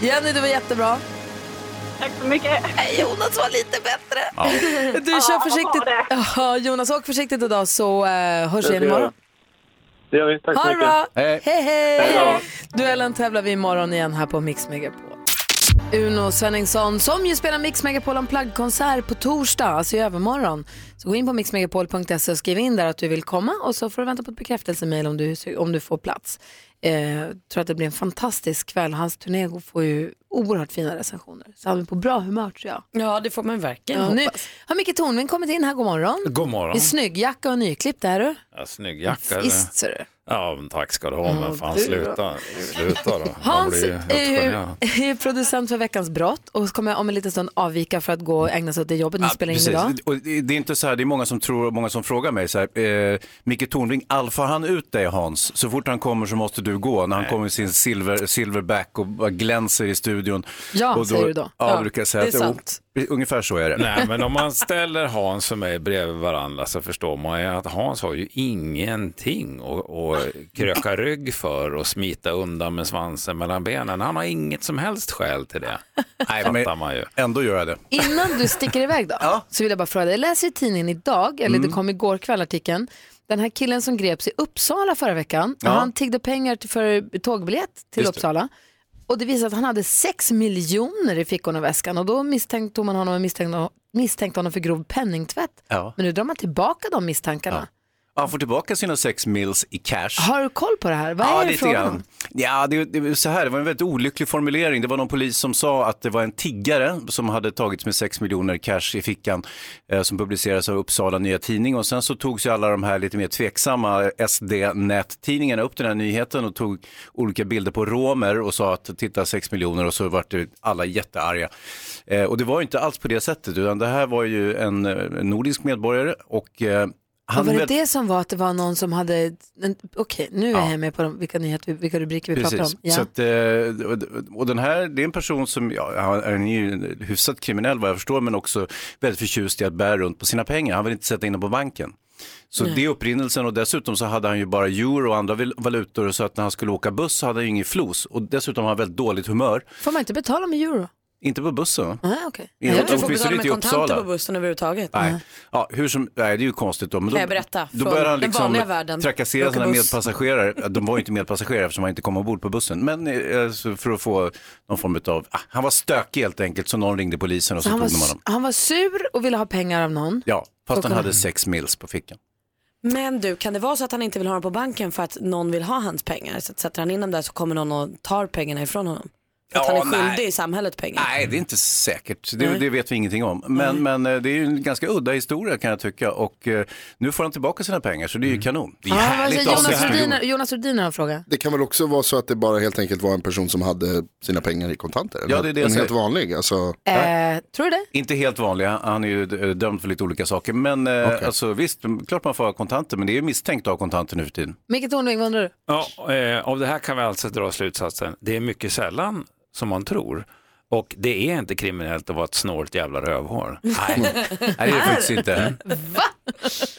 Jenny, du var jättebra. Tack så mycket. Eh, Jonas var lite bättre. Ja. [LAUGHS] Du kör försiktigt. Ja, Jonas, åk försiktigt idag så eh, hörs vi igen imorgon. Det gör vi. Tack Ha det bra. Hej, Hej då. hej. Duellen tävlar vi imorgon igen här på Mix Megapol. Uno Svenningsson som ju spelar Mix Megapol Unplugged-konsert på torsdag, alltså i övermorgon. Så gå in på mixmegapol.se och skriv in där att du vill komma och så får du vänta på ett bekräftelsemail om du, om du får plats. Eh, tror att det blir en fantastisk kväll. Hans turné får ju oerhört fina recensioner. Så han är på bra humör tror jag. Ja, det får man verkligen Ja, nu hoppas. har Micke Tornving kommit in här, god morgon. God morgon. I snyggjacka och nyklippt är du. Ja, snygg jacka. Visst, ser du. Ja, men tack ska du ha. Men fan, du då? sluta. Sluta då. Man Hans eh, blir ju helt är ju, generad. [LAUGHS] är ju producent för veckans brott och så kommer jag om en liten stund avvika för att gå och ägna sig åt det jobbet ni spelar in Precis. idag. Och det det är inte så här, det är många som tror och många som frågar mig så här, eh, Micke Tornving, alfar han ut dig Hans? Så fort han kommer så måste du gå. När han kommer i sin silver, silverback och bara glänser i studion. Ja, och säger du då. Ja, Ja, brukar jag säga. det är att- jo, sant. Ungefär så är det. Nej, men om man ställer Hans och mig bredvid varandra så förstår man ju att Hans har ju ingenting att, att kröka rygg för och smita undan med svansen mellan benen. Han har inget som helst skäl till [LAUGHS] det. Nej, men man ju. ändå gör jag det. Innan du sticker iväg då, så vill jag bara fråga dig. Jag läser i tidningen idag, eller det Mm. kom igår kväll artikeln, den här killen som greps i Uppsala förra veckan, Ja. han tiggde pengar till- för tågbiljett till Just det. Uppsala. Och det visade att han hade 6 miljoner i fickorna och väskan och då misstänkte tog man honom och misstänkte, misstänkte honom för grov penningtvätt. [LAUGHS] Ja. Men nu drar man tillbaka de misstankarna. Han får tillbaka sina sex mils i cash. Har du koll på det här? Vad ja, är det lite frågan grann. om? Ja, det, det, var så här, det var en väldigt olycklig formulering. Det var någon polis som sa att det var en tiggare som hade tagits med 6 miljoner cash i fickan eh, som publicerades av Uppsala Nya Tidning och sen så togs ju alla de här lite mer tveksamma SD-nättidningarna upp den här nyheten och tog olika bilder på romer och sa att titta 6 miljoner och så vart det alla jättearga. Eh, och det var ju inte alls på det sättet utan det här var ju en eh, nordisk medborgare och eh, Och var det väl- det som var att det var någon som hade, en- okej nu är jag med på de, vilka, nyheter, vilka rubriker vi pratar om. Ja. Så att, eh, och- och den här, det är en person som, ja, han han är ju hyfsat kriminell vad jag förstår, men också väldigt förtjust i att bära runt på sina pengar. Han vill inte sätta in dem på banken. Så Nej. det är upprinnelsen och dessutom så hade han ju bara euro och andra val- valutor så att när han skulle åka buss så hade han ju ingen flos och dessutom har han väldigt dåligt humör. Får man inte betala med euro? Inte på bussen. Nej, Ah, okej. Inte- Jag tror du får åtminstone betala inte med i kontanter Uppsala. på bussen överhuvudtaget. Nej. Ja, hur som, nej, det är ju konstigt då. Men då Kan jag berätta? Då Från börjar han den vanliga liksom världen. trakassera Åka sina buss. medpassagerare. De var ju inte medpassagerare eftersom han inte kom ombord på bussen. Men eh, så för att få någon form av, ah, han var stökig helt enkelt så någon ringde polisen och Så så, han, tog var, de s- honom. han var sur och ville ha pengar av någon. Ja, fast Så han hade kom- sex mils på fickan. Men du, kan det vara så att han inte vill ha dem på banken för att någon vill ha hans pengar? Så att sätter han in dem där så kommer någon och tar pengarna ifrån honom. För att Ja, han är skyldig nej. Ah, i samhället pengar. Nej, det är inte säkert. Det, Nej. det vet vi ingenting om. Men, men eh, det är ju en ganska udda historia kan jag tycka. Och eh, nu får han tillbaka sina pengar så det Mm. är ju kanon. Det är Ja, vad härligt säger att ha Jonas sex miljoner. Rhodin- Jonas Rhodin har en fråga. Det kan väl också vara så att det bara helt enkelt var en person som hade sina pengar i kontanter? Ja, det är det jag en helt säger. vanlig, alltså. Eh, tror du det? Inte helt vanliga, han är ju eh, dömd för lite olika saker. Men eh, alltså, visst, klart man får ha kontanter, men det är ju misstänkt att ha kontanter nu för tiden. Micke Tornving, vad undrar du? Ja, eh, av det här kan vi alltså dra slutsatsen. Det är mycket sällan som man tror. Och det är inte kriminellt att vara ett snålt jävla rövhål. Nej, Nej, det är det faktiskt inte.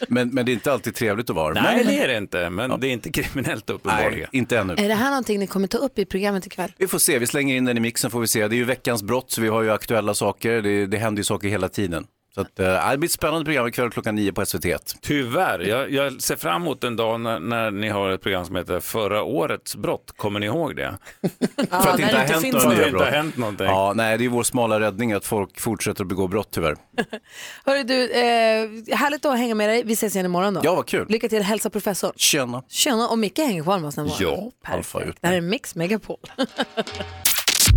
Men, men det är inte alltid trevligt att vara. Nej, det är det inte, men det är inte kriminellt uppenbarligen. Nej, inte ännu. Är det här någonting ni kommer ta upp i programmet ikväll? Vi får se, vi slänger in den i mixen får vi se. Det är ju veckans brott, så vi har ju aktuella saker. Det, det händer ju saker hela tiden. Så att, eh, det blir ett spännande program ikväll klockan nio på SVT. Tyvärr, jag, jag ser fram emot en dag när, när ni har ett program som heter Förra årets brott. Kommer ni ihåg det? För att det inte har hänt några Det nya inte har brott. hänt någonting. Ja, nej, det är vår smala räddning att folk fortsätter att begå brott tyvärr. Hörru du, eh, härligt att hänga med dig. Vi ses igen imorgon då. Ja, vad kul. Lycka till, hälsa professorn. Tjena. Tjena, och Micke hänger kvar med oss den här morgonen. Ja, alfa ut. Det här är Mix Megapol. [LAUGHS]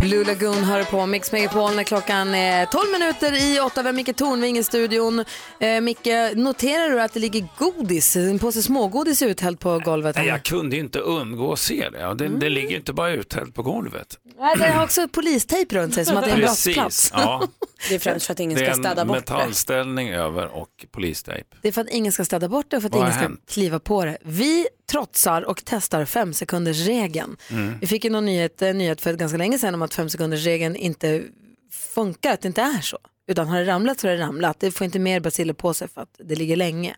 Blue Lagoon hör på Mix Megapol när klockan är 12 minuter i 8. Vi har Micke Tornving i studion. Eh, Micke, noterar du att det ligger godis, en påse smågodis uthälld på golvet? Nej, här? jag kunde ju inte undgå att se det. Ja, Det, det ligger ju inte bara uthällt på golvet. Nej, det har också polistejp runt sig som att det är en brottsplats. Precis, [LAUGHS] ja. Det är främst för att ingen Det ska är städa en bort det. metallställning över och polistejp. Det är för att ingen ska städa bort det och för att Vad har ingen ska hänt? kliva på det. Vi trotsar och testar fem sekunders regeln. Mm. Vi fick ju någon nyhet, eh, nyhet för ganska länge sedan om att fem sekunders regeln inte funkar, att det inte är så. Utan har det ramlat så har det ramlat. Det får inte mer basiller på sig för att det ligger länge.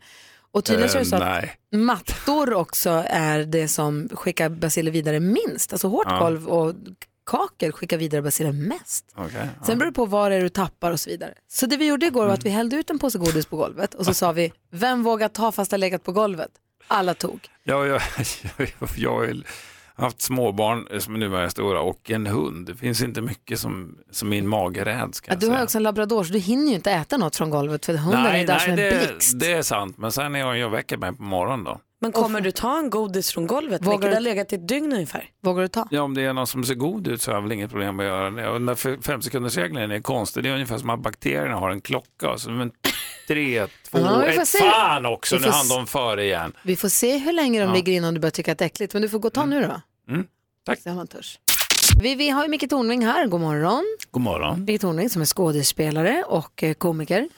Och tydligen så är det så Eh, att nej. mattor också är det som skickar basiler vidare minst. Alltså hårt Ja. golv och kakel skickar vidare basiler mest. Okej. ja. Sen beror det på var det är du tappar och så vidare. Så det vi gjorde igår var att vi Mm. hällde ut en påse godis på golvet Ah. och så sa vi, vem vågar ta fast det har legat på golvet? Alla tog. Ja, jag, [LAUGHS] jag, jag har haft småbarn som nu är stora och en hund. Det finns inte mycket som, som min mage räds. kan Ja, jag du har säga. ju också en labrador så du hinner ju inte äta något från golvet för hunden är där som en blixt. det, det är sant. Men sen är jag, jag väcker mig på morgonen då. Men kommer du ta en godis från golvet? Vågar Vilket du- har legat i ett dygn ungefär. Vågar du ta? Ja, om det är någon som ser god ut så har jag väl inget problem med att göra det. Och den där f- femsekundersregeln är konstig. Det är ungefär som att bakterierna har en klocka. Så, men, [LAUGHS] tre, två, Ja, vi får ett. se. Fan också, Vi nu får hann se. de före igen. Vi får se hur länge de Ja. ligger innan du börjar tycka att det är äckligt. Men du får gå och ta nu då. Mm. Tack. Se om man törs. Vi, vi har ju Micke Tornving här, god morgon. God morgon. Micke Tornving som är skådespelare och eh, komiker.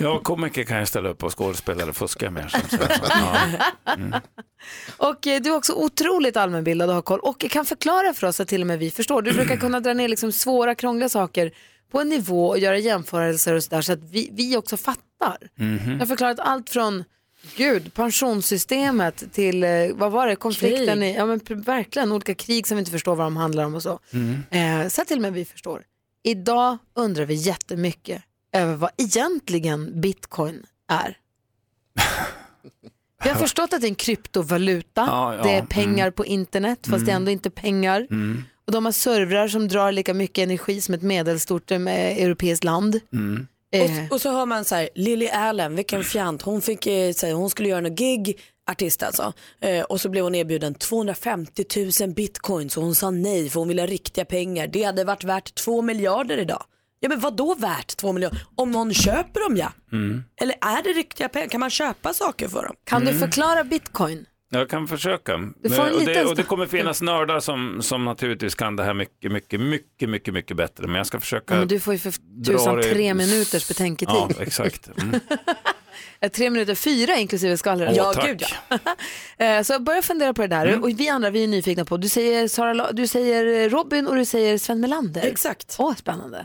Ja, komiker kan jag ställa upp och skådespelare fuskar med. Som så. [LAUGHS] Och eh, du är också otroligt allmänbildad och har koll och kan förklara för oss att till och med vi förstår. Du brukar kunna dra ner liksom svåra, krångliga saker på en nivå och göra jämförelser och sådär så att vi, vi också fattar. Jag har förklarat allt från Gud, pensionssystemet till, eh, vad var det, konflikten Krig. i, ja men pr- verkligen olika krig som vi inte förstår vad de handlar om och så. Mm. Eh, så att till och med vi förstår. Idag undrar vi jättemycket över vad egentligen bitcoin är. Vi har förstått att det är en kryptovaluta, Ja, ja, det är pengar på internet fast det är Mm. ändå inte pengar. Mm. Och de har servrar som drar lika mycket energi som ett medelstort eh, europeiskt land. Mm. Eh, Och, och så hör man så här, Lily Allen, vilken fjant. Hon, fick, eh, så här, hon skulle göra något gig, artist alltså. Eh, och så blev hon erbjuden 250 000 bitcoins och hon sa nej för hon ville ha riktiga pengar. Det hade varit värt 2 miljarder idag. Ja men vad då värt 2 miljarder? Om någon köper dem ja. Eller är det riktiga pengar? Kan man köpa saker för dem? Kan du Mm. förklara bitcoin? Jag kan försöka. Du får en och, det, liten- och det kommer finnas nördar som, som naturligtvis kan det här mycket, mycket, mycket, mycket, mycket bättre. Men jag ska försöka. Ja, men du får ju för dra tusan det- tre minuters betänketid. Ja, exakt. [LAUGHS] Mm. Eh, Tre minuter, fyra inklusive skvallret. Åh, Ja, tack. gud, ja. [LAUGHS] Eh, Så börja fundera på det där. Mm. Och vi andra vi är nyfikna på, du säger, Sara, La- du säger Robin och du säger Sven Melander. Exakt. Åh, spännande.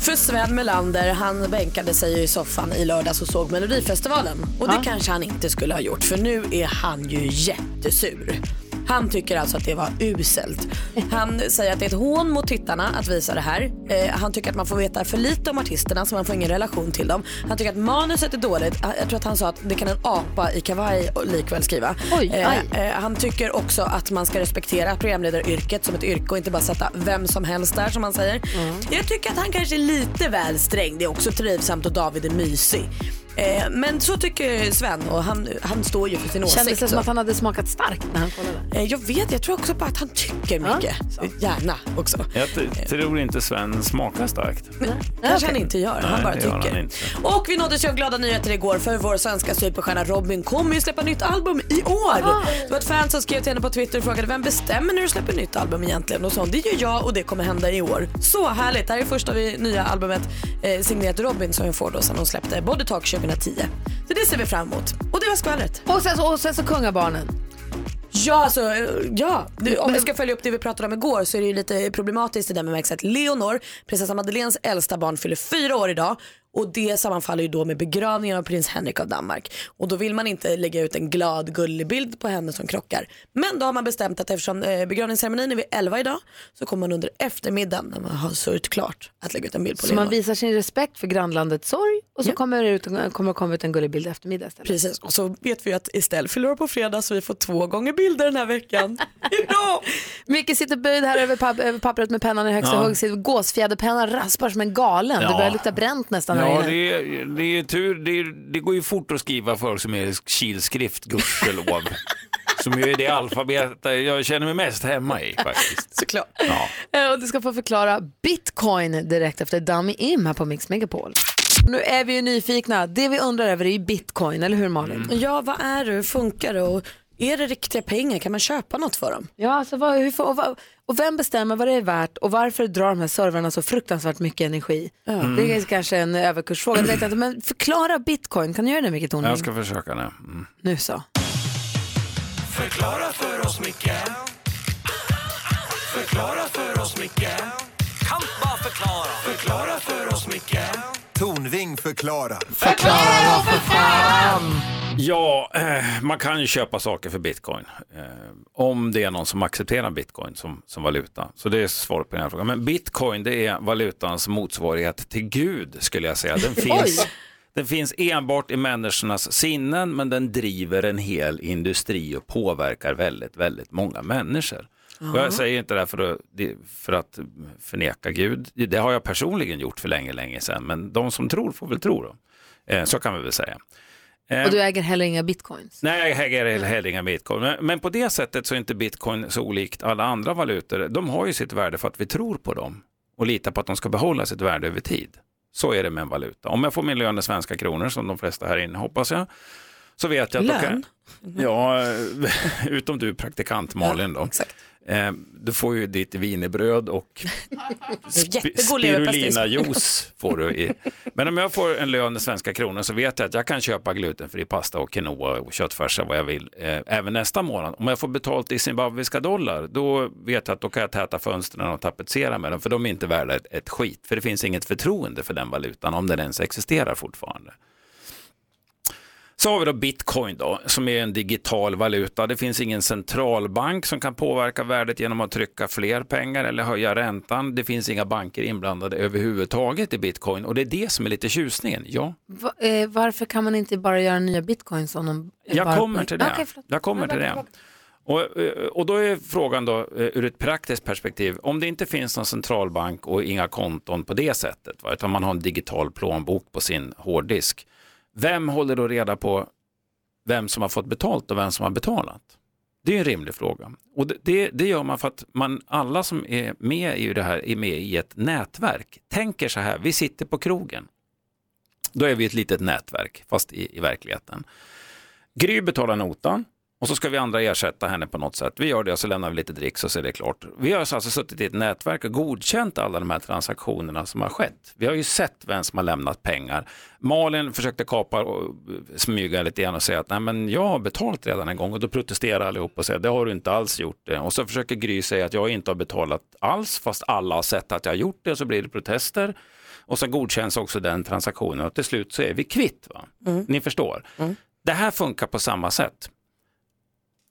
För Sven Melander, han bänkade sig ju i soffan i lördags och såg Melodifestivalen. Och det kanske han inte skulle ha gjort för nu är han ju jättesur. Han tycker alltså att det var uselt. Han säger att det är ett hån mot tittarna att visa det här. Eh, han tycker att man får veta för lite om artisterna så man får ingen relation till dem. Han tycker att manuset är dåligt. Ah, Jag- Jag tror att han sa att det kan en apa i kavaj likväl skriva. Oj, Eh, aj. Eh, Han tycker också att man ska respektera programledaryrket som ett yrke och inte bara sätta vem som helst där som han säger. Mm. Jag tycker att han kanske är lite väl sträng. Det är också trivsamt och David är mysig. Eh, Men så tycker Sven och han, han står ju för sin åsikt. Eh, Kändes det som att han hade smakat starkt när han kollade? Jag vet, jag tror också bara att han tycker mycket. Gärna också. Jag t- tror inte Sven smakar starkt. Kanske han inte gör, han Nej, bara det gör tycker. han inte. Och vi nåddes ju av glada nyheter igår för vår svenska superstjärna Robin kommer ju släppa nytt album i år. Det var ett fan som skrev till henne på Twitter och frågade vem bestämmer när du släpper nytt album egentligen? Och så det gör jag och det kommer hända i år. Så härligt, det här är första vi, nya albumet eh, signerat Robin som hon får då sen hon släppte Body Talk 2010. Så det ser vi fram emot. Och det var skvallret. Och sen så, och sen så kungabarnen. Ja, alltså, eh, ja. Du, om vi ska följa upp det vi pratade om igår så är det ju lite problematiskt i den bemärkelsen att Leonor, prinsessa Madeleines äldsta barn, fyller fyra år idag och det sammanfaller ju då med begravningen av prins Henrik av Danmark. Och då vill man inte lägga ut en glad gullig bild på henne som krockar. Men då har man bestämt att eftersom eh, begravningsceremonin är vid 11 idag så kommer man under eftermiddagen när man har sörjt klart att lägga ut en bild på Så man Leonor. visar sin respekt för grannlandets sorg och så kommer det ut, kommer det komma ut en gullig bild i eftermiddag istället. Precis, och så vet vi ju att Estelle fyller år på fredag så vi får två gånger bilder den här veckan. Micke sitter böjd här över, papp- över pappret med pennan i högsta Ja. hugg. Sitter- Gåsfjäderpennan raspar som en galen. Det Ja. börjar lukta bränt nästan här Ja, inne. det är, det är tur. Det, är, det går ju fort att skriva folk som är kilskrift, gudskelov. [LAUGHS] som ju är det alfabet där jag känner mig mest hemma i faktiskt. Såklart. Ja. Eh, Och du ska få förklara bitcoin direkt efter Dummy Im här på Mix Megapol. Nu är vi ju nyfikna. Det vi undrar över är ju bitcoin, eller hur Malin? Mm. Ja, vad är det? Hur funkar det? Och är det riktiga pengar? Kan man köpa något för dem? Ja, alltså vad, hur, får- och, vad, och vem bestämmer vad det är värt och varför drar de här servrarna så fruktansvärt mycket energi? Mm. Det är kanske en överkursfråga. Jag tänkte, men förklara bitcoin, kan du göra det Micke Tornving? Jag ska försöka nu. Mm. Nu så. Förklara för oss, Micke Förklara för oss, Micke Kan bara förklara Förklara för oss, Micke Tornving förklarar. Förklara för fan! Ja, eh, man kan ju köpa saker för bitcoin. Eh, Om det är någon som accepterar bitcoin som, som valuta. Så det är svaret på den här frågan. Men bitcoin det är valutans motsvarighet till Gud skulle jag säga. Den [LAUGHS] finns, Oj. den finns enbart i människornas sinnen men den driver en hel industri och påverkar väldigt, väldigt många människor. Och Ja. jag säger inte det här för att, det- för att förneka Gud. Det har jag personligen gjort för länge, länge sedan. Men de som tror får väl tro då. Eh, Så kan vi väl säga. Eh, Och du äger heller inga bitcoins. Nej, jag äger heller inga bitcoin. Men- Men på det sättet så är inte bitcoin så olikt alla andra valutor. De har ju sitt värde för att vi tror på dem och litar på att de ska behålla sitt värde över tid. Så är det med en valuta. Om jag får min lön i svenska kronor, som de flesta här inne hoppas jag, så vet jag att då Lön? kan... Ja, [LAUGHS] utom du praktikant Malin då. Eh, Du får ju ditt wienerbröd och Alltså, Sp- Jättegod leverpastej. Spirulina-juice [LAUGHS] får du. I. Men om jag får en lön i svenska kronor så vet jag att jag kan köpa glutenfri pasta och quinoa och köttfärsa vad jag vill eh, även nästa månad. Om jag får betalt i zimbabwiska dollar då vet jag att då kan jag täta fönstren och tapetsera med dem för de är inte värda ett, ett skit. För det finns inget förtroende för den valutan om den ens existerar fortfarande. Så har vi då bitcoin då, som är en digital valuta. Det finns ingen centralbank som kan påverka värdet genom att trycka fler pengar eller höja räntan. Det finns inga banker inblandade överhuvudtaget i bitcoin och det är det som är lite tjusningen. Ja, Va, eh, varför kan man inte bara göra nya bitcoins om de jag bara- kommer till det. Okej, förlåt. Jag kommer till det. Och, eh, och då är frågan då eh, ur ett praktiskt perspektiv, om det inte finns någon centralbank och inga konton på det sättet, va, utan man har en digital plånbok på sin hårddisk, vem håller då reda på vem som har fått betalt och vem som har betalat? Det är en rimlig fråga. Och det- det, det gör man för att man, alla som är med i det här är med i ett nätverk. Tänker så här, vi sitter på krogen. Då är vi ett litet nätverk, fast i, i verkligheten. Gry betalar notan och så ska vi andra ersätta henne på något sätt. Vi gör det och så lämnar vi lite dricks och så är det klart. Vi har alltså suttit i ett nätverk och godkänt alla de här transaktionerna som har skett. Vi har ju sett vem som har lämnat pengar. Malin försökte kapa och eh, smyga lite grann och säga att Nej, men jag har betalt redan en gång och då protesterar allihop och säger det har du inte alls gjort. Det. Och så försöker Gry säga att jag inte har betalat alls fast alla har sett att jag har gjort det och så blir det protester. Och så godkänns också den transaktionen och till slut så är vi kvitt. Va? Ni förstår. Det här funkar på samma sätt.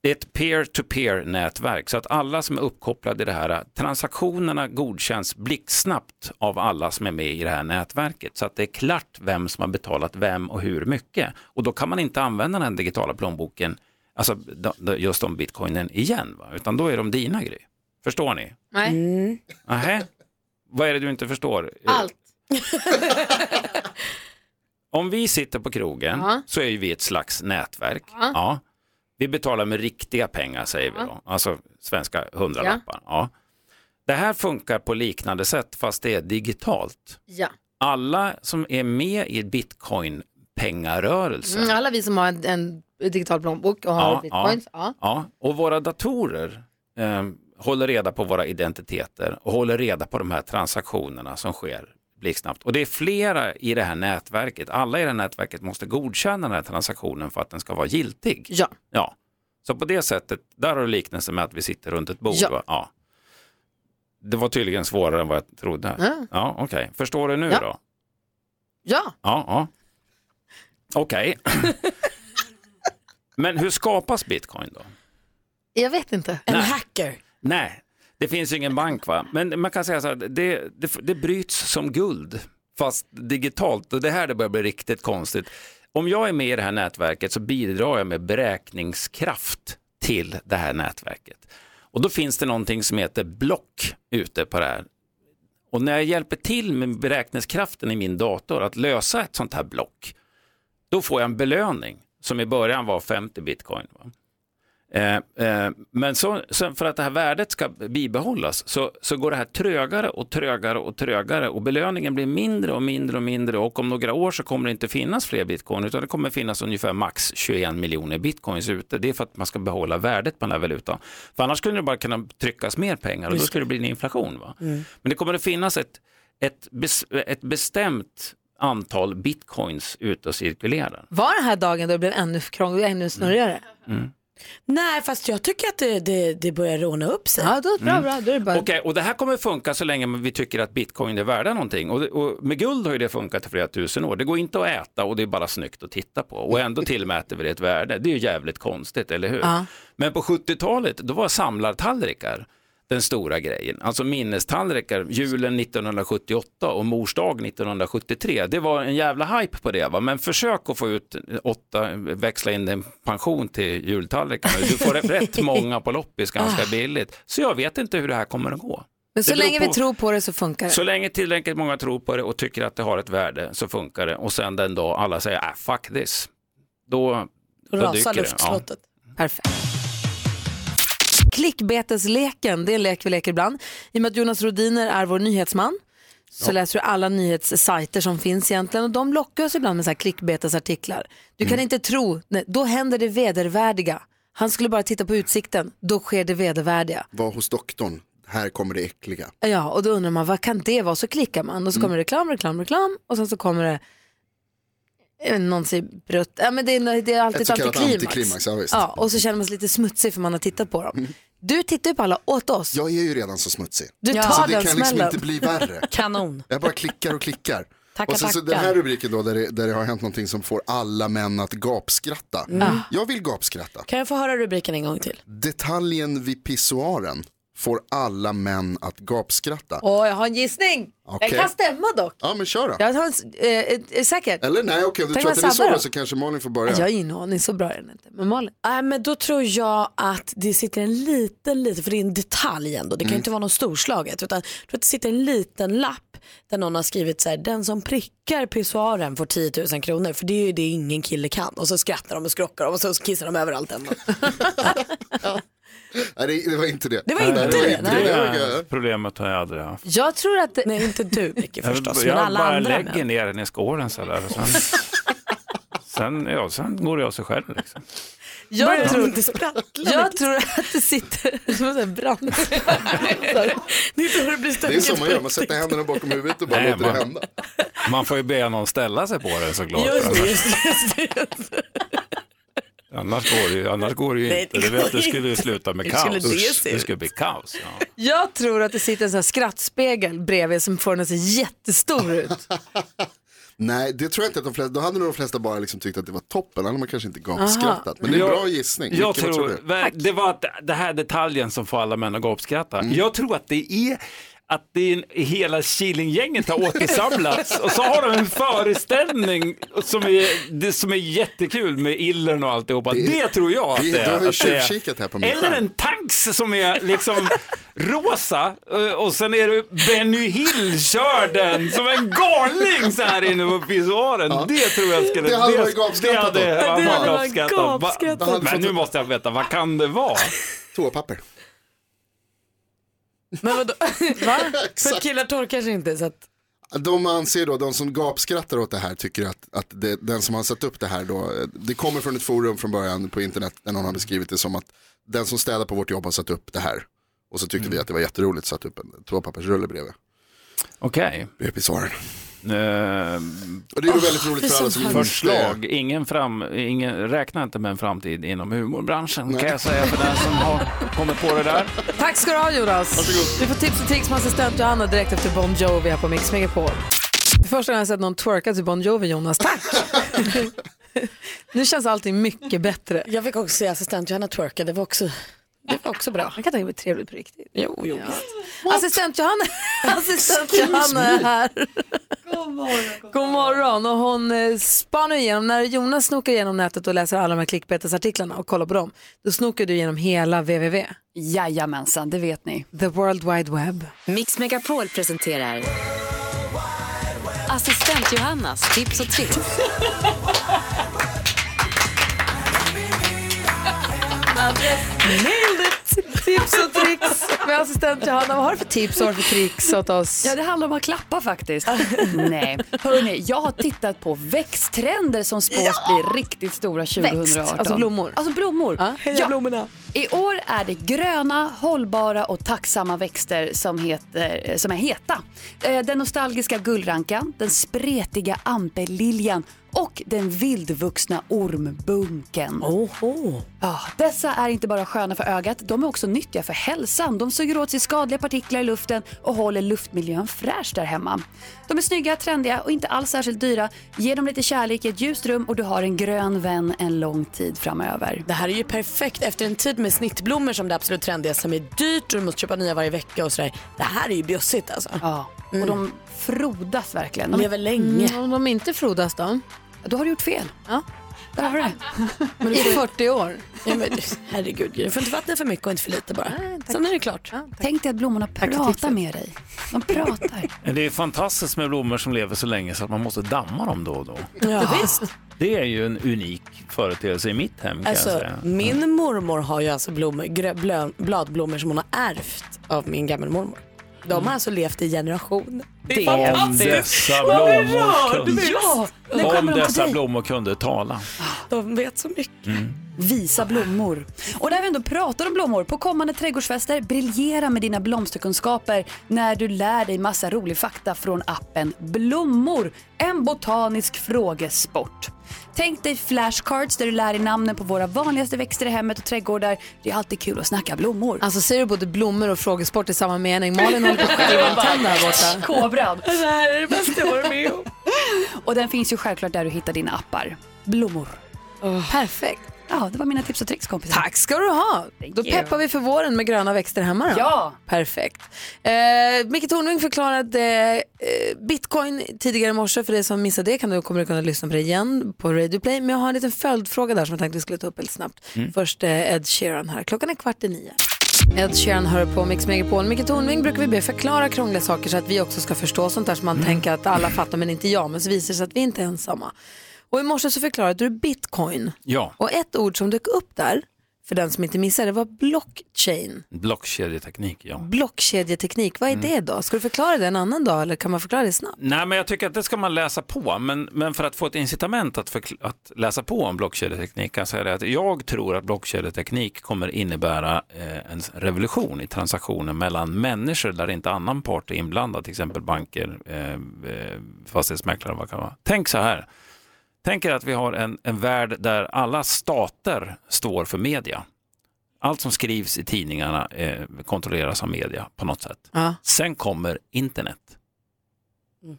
Det är ett peer-to-peer-nätverk så att alla som är uppkopplade i det här, transaktionerna godkänns blixtsnabbt av alla som är med i det här nätverket. Så att det är klart vem som har betalat vem och hur mycket. Och då kan man inte använda den digitala plånboken, alltså d- d- just om bitcoinen igen, va? utan då är de dina Gry. Förstår ni? Nej. Nähä? Vad är det du inte förstår? Allt. Om vi sitter på krogen Ja. så är ju vi ett slags nätverk. Ja. Ja. Vi betalar med riktiga pengar säger vi då, alltså svenska hundralappar. Ja. Det här funkar på liknande sätt fast det är digitalt. Ja. Alla som är med i bitcoin-pengarörelsen Mm, alla vi som har en, en digital plånbok och har bitcoins. Ja. Ja. Och våra datorer eh, håller reda på våra identiteter och håller reda på de här transaktionerna som sker blixtsnabbt. Och det är flera i det här nätverket. Alla i det här nätverket måste godkänna den här transaktionen för att den ska vara giltig. Ja. ja. Så på det sättet, där har du liknelsen med att vi sitter runt ett bord. Ja. va? Ja. Det var tydligen svårare än vad jag trodde. Ja. Ja, okej. Förstår du nu Ja. då? Ja. Ja, ja. Okej. Men hur skapas bitcoin då? Jag vet inte. En hacker. Nej, det finns ju ingen bank va? Men man kan säga så här, det, det, det bryts som guld, fast digitalt. Och det här det börjar bli riktigt konstigt. Om jag är med i det här nätverket så bidrar jag med beräkningskraft till det här nätverket. Och då finns det någonting som heter block ute på det här och när jag hjälper till med beräkningskraften i min dator att lösa ett sånt här block, då får jag en belöning som i början var 50 bitcoin. Va? Eh, eh, men så, sen för att det här värdet ska bibehållas så, så går det här trögare och trögare och trögare och belöningen blir mindre och mindre och mindre och om några år så kommer det inte finnas fler bitcoin utan det kommer finnas ungefär max 21 miljoner bitcoins ute. Det är för att man ska behålla värdet på den här valutan. För annars skulle det bara kunna tryckas mer pengar och då Just det. skulle det bli en inflation. Va? Mm. Men det kommer att finnas ett, ett, bes, ett bestämt antal bitcoins ute och cirkulerar. Var den här dagen då det blev ännu krångligare, ännu snurrigare? Mm. Nej, fast jag tycker att det, det, det börjar råna upp sig. Ja, då, Mm. Då är det bara... Okej, och det här kommer funka så länge vi tycker att bitcoin är värda någonting. Och, och med guld har ju det funkat i flera tusen år. Det går inte att äta och det är bara snyggt att titta på. Och ändå tillmäter vi det ett värde. Det är ju jävligt konstigt, eller hur? Ja. Men på 70-talet, då var samlartallrikar den stora grejen. Alltså minnestallrikar, julen 1978 och morsdag 1973. Det var en jävla hype på det. Va? Men försök att få ut åtta, växla in en pension till jultallrikarna. Du får [LAUGHS] rätt många på loppis Ah. ganska billigt. Så jag vet inte hur det här kommer att gå. Men så Det beror länge vi på- tror på det så Eh. funkar det. så länge tillräckligt många tror på det och tycker att det har ett värde så funkar det. Och sen den dag alla säger äh, fuck this, då, då dyker det. Ja. Perfekt. Klickbetesleken, det är en lek vi leker ibland. I och med att Jonas Rodiner är vår nyhetsman så läser du alla nyhetssajter som finns egentligen och de lockar oss ibland med så här klickbetesartiklar. Du Mm. kan inte tro, nej, då händer det vedervärdiga. Han skulle bara titta på utsikten, då sker det vedervärdiga. Var hos doktorn, här kommer det äckliga. Ja, och då undrar man vad kan det vara? Så klickar man och så Mm. kommer reklam, reklam, reklam och sen så kommer det eh, någon säger brutt. Ja, men det, är, det är alltid Ett ett, så kallat antiklimax. antiklimax, ja, visst. Mm. ja, och så känner man sig lite smutsig för man har tittat på dem. Du tittar ju på alla åt oss. Jag är ju redan så smutsig. Du tar så det den kan liksom smällen. inte bli värre. Kanon. Jag bara klickar och klickar. Tackar, och sen så tackar. den här rubriken då där det, där det har hänt någonting som får alla män att gapskratta. Mm. Jag vill gapskratta. Kan jag få höra rubriken en gång till? Detaljen vid pissoaren får alla män att gapskratta. [LAUGHS] Åh, jag har en gissning. Okej. Den kan stämma dock. Ja men kör då. Jag har en, s- eh, eh, är det säkert. Eller nej, okej om du Tänk tror vad att den är sabbar så då. Alltså, bra så kanske Malin får börja. Jag har ingen aning, så bra är den inte. Men Malin. Nej, men då tror jag att det sitter en liten, liten, för det är en detalj ändå, det kan ju Mm. inte vara något storslaget, utan jag tror att det sitter en liten lapp där någon har skrivit så här, den som prickar pissoaren får 10 000 kronor, för det är ju det ingen kille kan. Och så skrattar de och skrockar de och så kissar de överallt ändå. Nej, det, det var inte det. Det var inte Nej, det, nej. Det var- är problemet har jag aldrig haft. Jag tror att... Nej, inte du Micke förstås, jag men alla bara andra. lägger män. ner den i skålen så där. och [LAUGHS] Sen, sen, ja, sen går det av sig själv. Liksom. Jag Börjar tror, inte sprattla jag tror att [LAUGHS] det sitter som en sån här brand. Det är då det blir Det är så man gör, man sätter händerna bakom huvudet och bara Nej, låter det man- hända. Man får ju be någon ställa sig på den såklart. Just det, annars, just det, just det. annars går det ju, annars går det ju Nej, inte. det Det, går vet, det skulle ju inte. sluta med Hur skulle kaos. det se det ut? skulle bli kaos. Ja. Jag tror att det sitter en sån här skrattspegel bredvid som får den att se jättestor ut. Nej, det tror jag inte att de flesta, då hade nog de flesta bara liksom tyckt att det var toppen, då hade man kanske inte gapskrattat. Men det är en Jag- bra gissning. Jag Vilken, vad tror, du? väl, det var att det här detaljen som får alla män att gapskratta. Mm. Jag tror att det är att det är en, hela Killinggänget har återsamlats och så har de en föreställning som är, det, som är jättekul med illen och alltihopa. Det, Det- det tror jag att det- det du har är. ju att det är. tjuvkikat här på min Eller skärm. en tanks som är liksom rosa eh, och sen är det Benny Hill kör den som en galning så här inne på pissoaren. Det tror jag skulle... Det hade man ju gapskrattat det hade åt. man Det hade man gapskrattat åt. Va- gapskrattat åt. Men nu måste jag veta, vad kan det vara? Toapapper. Men vadå? [LAUGHS] Va? För killar torkar sig inte så att... De anser då, de som gapskrattar åt det här tycker att, att det, den som har satt upp det här då, eh, det kommer från ett forum från början på internet där någon har beskrivit det som att den som städar på vårt jobb har satt upp det här. Och så Mm. tyckte vi att det var jätteroligt, satt upp en toapappersrulle bredvid. Okej. Eh, Bredvid pissoaren. Och Och det är ju väldigt roligt för alla som inte Förslag, ingen fram, ingen, räkna inte med en framtid inom humorbranschen kan jag säga för den som har kommit på det där. Tack ska du ha Jonas. Du får tips och tricks med assistent Johanna direkt efter Bon Jovi här på Mix Megapol. Det är Första gången jag har sett någon twerka till Bon Jovi [LAUGHS] Jonas, tack! nu känns allting mycket bättre. Jag fick också se assistent Johanna twerka, det var också, det var också bra. Jag kan tänka mig trevligt på riktigt. Jo, jo. Assistent Johanna, [LAUGHS] assistent Excuse Johanna är me. här. God morgon och hon eh, spar nu igenom, när Jonas snokar igenom nätet och läser alla de här klickbetesartiklarna och kollar på dem, då snokar du igenom hela www. Jajamensan, det vet ni. The World Wide Web. Mix Megapol presenterar Assistent Johannas tips och tricks. Nailed it! Tips och tricks med assistent Johanna. Vad har du för tips och vad har du för tricks åt oss? Ja, det handlar om att klappa faktiskt. [LAUGHS] Nej, hörni, jag har tittat på växttrender som spås bli riktigt stora 2018. Växt, alltså blommor. Alltså blommor. heja blommorna. I år är det gröna, hållbara och tacksamma växter som, heter, eh, som är heta. Eh, Den nostalgiska gullrankan, den spretiga ampeliljan och den vildvuxna ormbunken. Oho. Ja, dessa är inte bara sköna för ögat, de är också nyttiga för hälsan. De suger åt sig skadliga partiklar i luften och håller luftmiljön fräsch där hemma. De är snygga, trendiga och inte alls särskilt dyra. Ge dem lite kärlek i ett ljust rum och du har en grön vän en lång tid framöver. Det här är ju perfekt efter en tid med snittblommor som det absolut trendiga som är dyrt och du måste köpa nya varje vecka och sådär. Det här är ju bjussigt alltså. Ja, och de frodas verkligen. De lever länge. Mm, om de inte frodas då? Då har du gjort fel. Ja. Där har du det. [LAUGHS] Men du får 40 år. Ja, men, herregud, du får inte vattna för mycket och inte för lite bara. Sen är det klart. Tänk dig att blommorna pratar med dig. De pratar. Det är fantastiskt med blommor som lever så länge så att man måste damma dem då och då. Ja. Visst. Det är ju en unik företeelse i mitt hem kan jag Alltså, säga. min mormor har ju alltså blommor, grö, blö, bladblommor som hon har ärvt av min gammelmormor. De har alltså levt i generationer. Det är Om dessa Vad berörd blommor du kunde, blir. Ja, när om kommer de till dessa dig? blommor kunde tala. Mm. De vet så mycket. Visa blommor. Och när vi ändå pratar om blommor, på kommande trädgårdsfester, briljera med dina blomsterkunskaper när du lär dig massa rolig fakta från appen Blommor, en botanisk frågesport. Tänk dig flashcards där du lär dig namnen på våra vanligaste växter i hemmet och trädgårdar. Det är alltid kul att snacka blommor. Alltså ser du både blommor och frågesport i samma mening? Malin håller på att [LAUGHS] skära av tänderna här borta. Kobran. Det här är det bästa jag varit med om. Och den finns ju självklart där du hittar dina appar. Blommor. Perfekt. Ja, det var mina tips och tricks kompisar. Tack ska du ha. Då you. peppar vi för våren med gröna växter hemma då. Ja. Perfekt. Eh, Micke Tornving förklarade eh, bitcoin tidigare i morse. För dig som missade det kan du, kommer du kunna lyssna på det igen på Radio Play. Men jag har en liten följdfråga där som jag tänkte vi skulle ta upp helt snabbt. Först eh, Ed Sheeran här. Klockan är kvart i nio. Ed Sheeran hör på Mix Megapol. Micke Tornving brukar vi be förklara krångliga saker så att vi också ska förstå sånt där som man tänker att alla fattar men inte jag. Men så visar det sig att vi inte är ensamma. Och i morse så förklarade du bitcoin. Ja, Och ett ord som dök upp där, för den som inte missade, det var blockchain. blockkedjeteknik. Ja. Blockkedjeteknik, vad är Mm. det då? Ska du förklara det en annan dag eller kan man förklara det snabbt? Nej, men jag tycker att det ska man läsa på. Men, men för att få ett incitament att, förkl- att läsa på om blockkedjeteknik kan jag säga det att jag tror att blockkedjeteknik kommer innebära eh, en revolution i transaktioner mellan människor där inte annan part är inblandad, till exempel banker, eh, eh, fastighetsmäklare, vad det kan vara. Tänk så här. Tänk er att vi har en, en värld där alla stater står för media. Allt som skrivs i tidningarna eh, kontrolleras av media på något sätt. Ja. Sen kommer internet.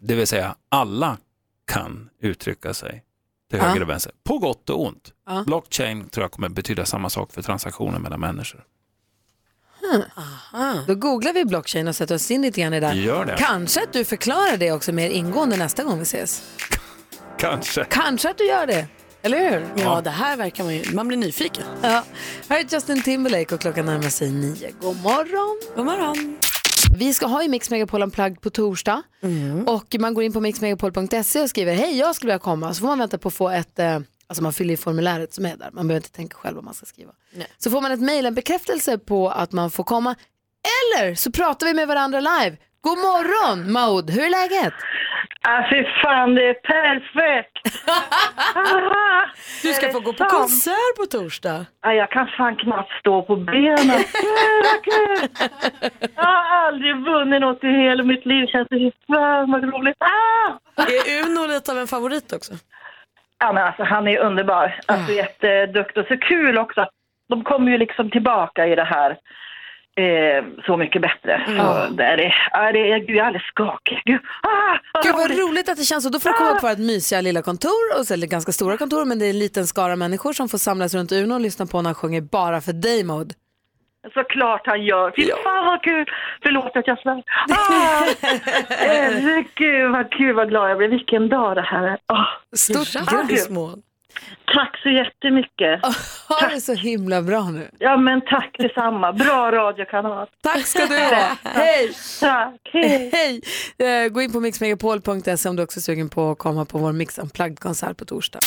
Det vill säga alla kan uttrycka sig till Ja. höger och vänster, på gott och ont. Ja. Blockchain tror jag kommer betyda samma sak för transaktioner mellan människor. Då googlar vi blockchain och sätter oss in lite grann i det. där. Gör det. Kanske att du förklarar det också mer ingående nästa gång vi ses. Kanske. Kanske att du gör det, eller hur? Ja, det här verkar man ju, man blir nyfiken. Ja. Här är Justin Timberlake och klockan närmar sig nio. God morgon! God morgon! Vi ska ha ju Mix Megapol Unplugged på torsdag Mm. och man går in på mixmegapol.se och skriver hej jag skulle vilja komma så får man vänta på att få ett, eh, alltså man fyller i formuläret som är där, man behöver inte tänka själv vad man ska skriva. Så får man ett mejl, en bekräftelse på att man får komma eller så pratar vi med varandra live. God morgon Maud, hur är läget? Ah, fy fan, det är perfekt! Haha. Du ska Är få det gå på sant? konsert på torsdag. Ah, jag kan fan knappt stå på benen. Kul, vad kul! Jag har aldrig vunnit något i hela mitt liv. Känns det fan vad roligt. Ah! Är Uno lite av en favorit också? Ah. Ja, men alltså, han är underbar. Alltså, Jätteduktig och så kul också. De kommer ju liksom tillbaka i det här eh, Så mycket bättre. Ah. Så det är, ja, det är, gud, jag är alldeles skakig. Gud, ah, Gud vad roligt att det känns så. Då får du komma upp på vårt mysiga lilla kontor, och så, eller ganska stora kontor, men det är en liten skara människor som får samlas runt Uno och lyssna på när han sjunger bara för dig Maud. Såklart han gör. Fy fan vad kul! Förlåt att jag svär. Ah, [LAUGHS] herregud vad kul, vad glad jag blir. Vilken dag det här är. Ah, Stort herregud. grattis Ah, Maud. Tack så jättemycket. Ha det så himla bra nu. Ja men tack detsamma. Bra radiokanal. Tack [LAUGHS] ska du ha. Hej! Tack, hej. [LAUGHS] Hej! Eh, Gå in på mixmegapol.se om du också är sugen på att komma på vår Mix Unplugged-konsert på torsdag.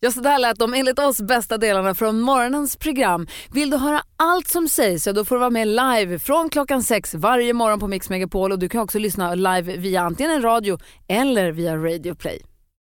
Ja, så där lät de enligt oss bästa delarna från morgonens program. Vill du höra allt som sägs, ja, då får du vara med live från klockan sex varje morgon på Mix Megapol. Och du kan också lyssna live via antingen en radio eller via Radio Play.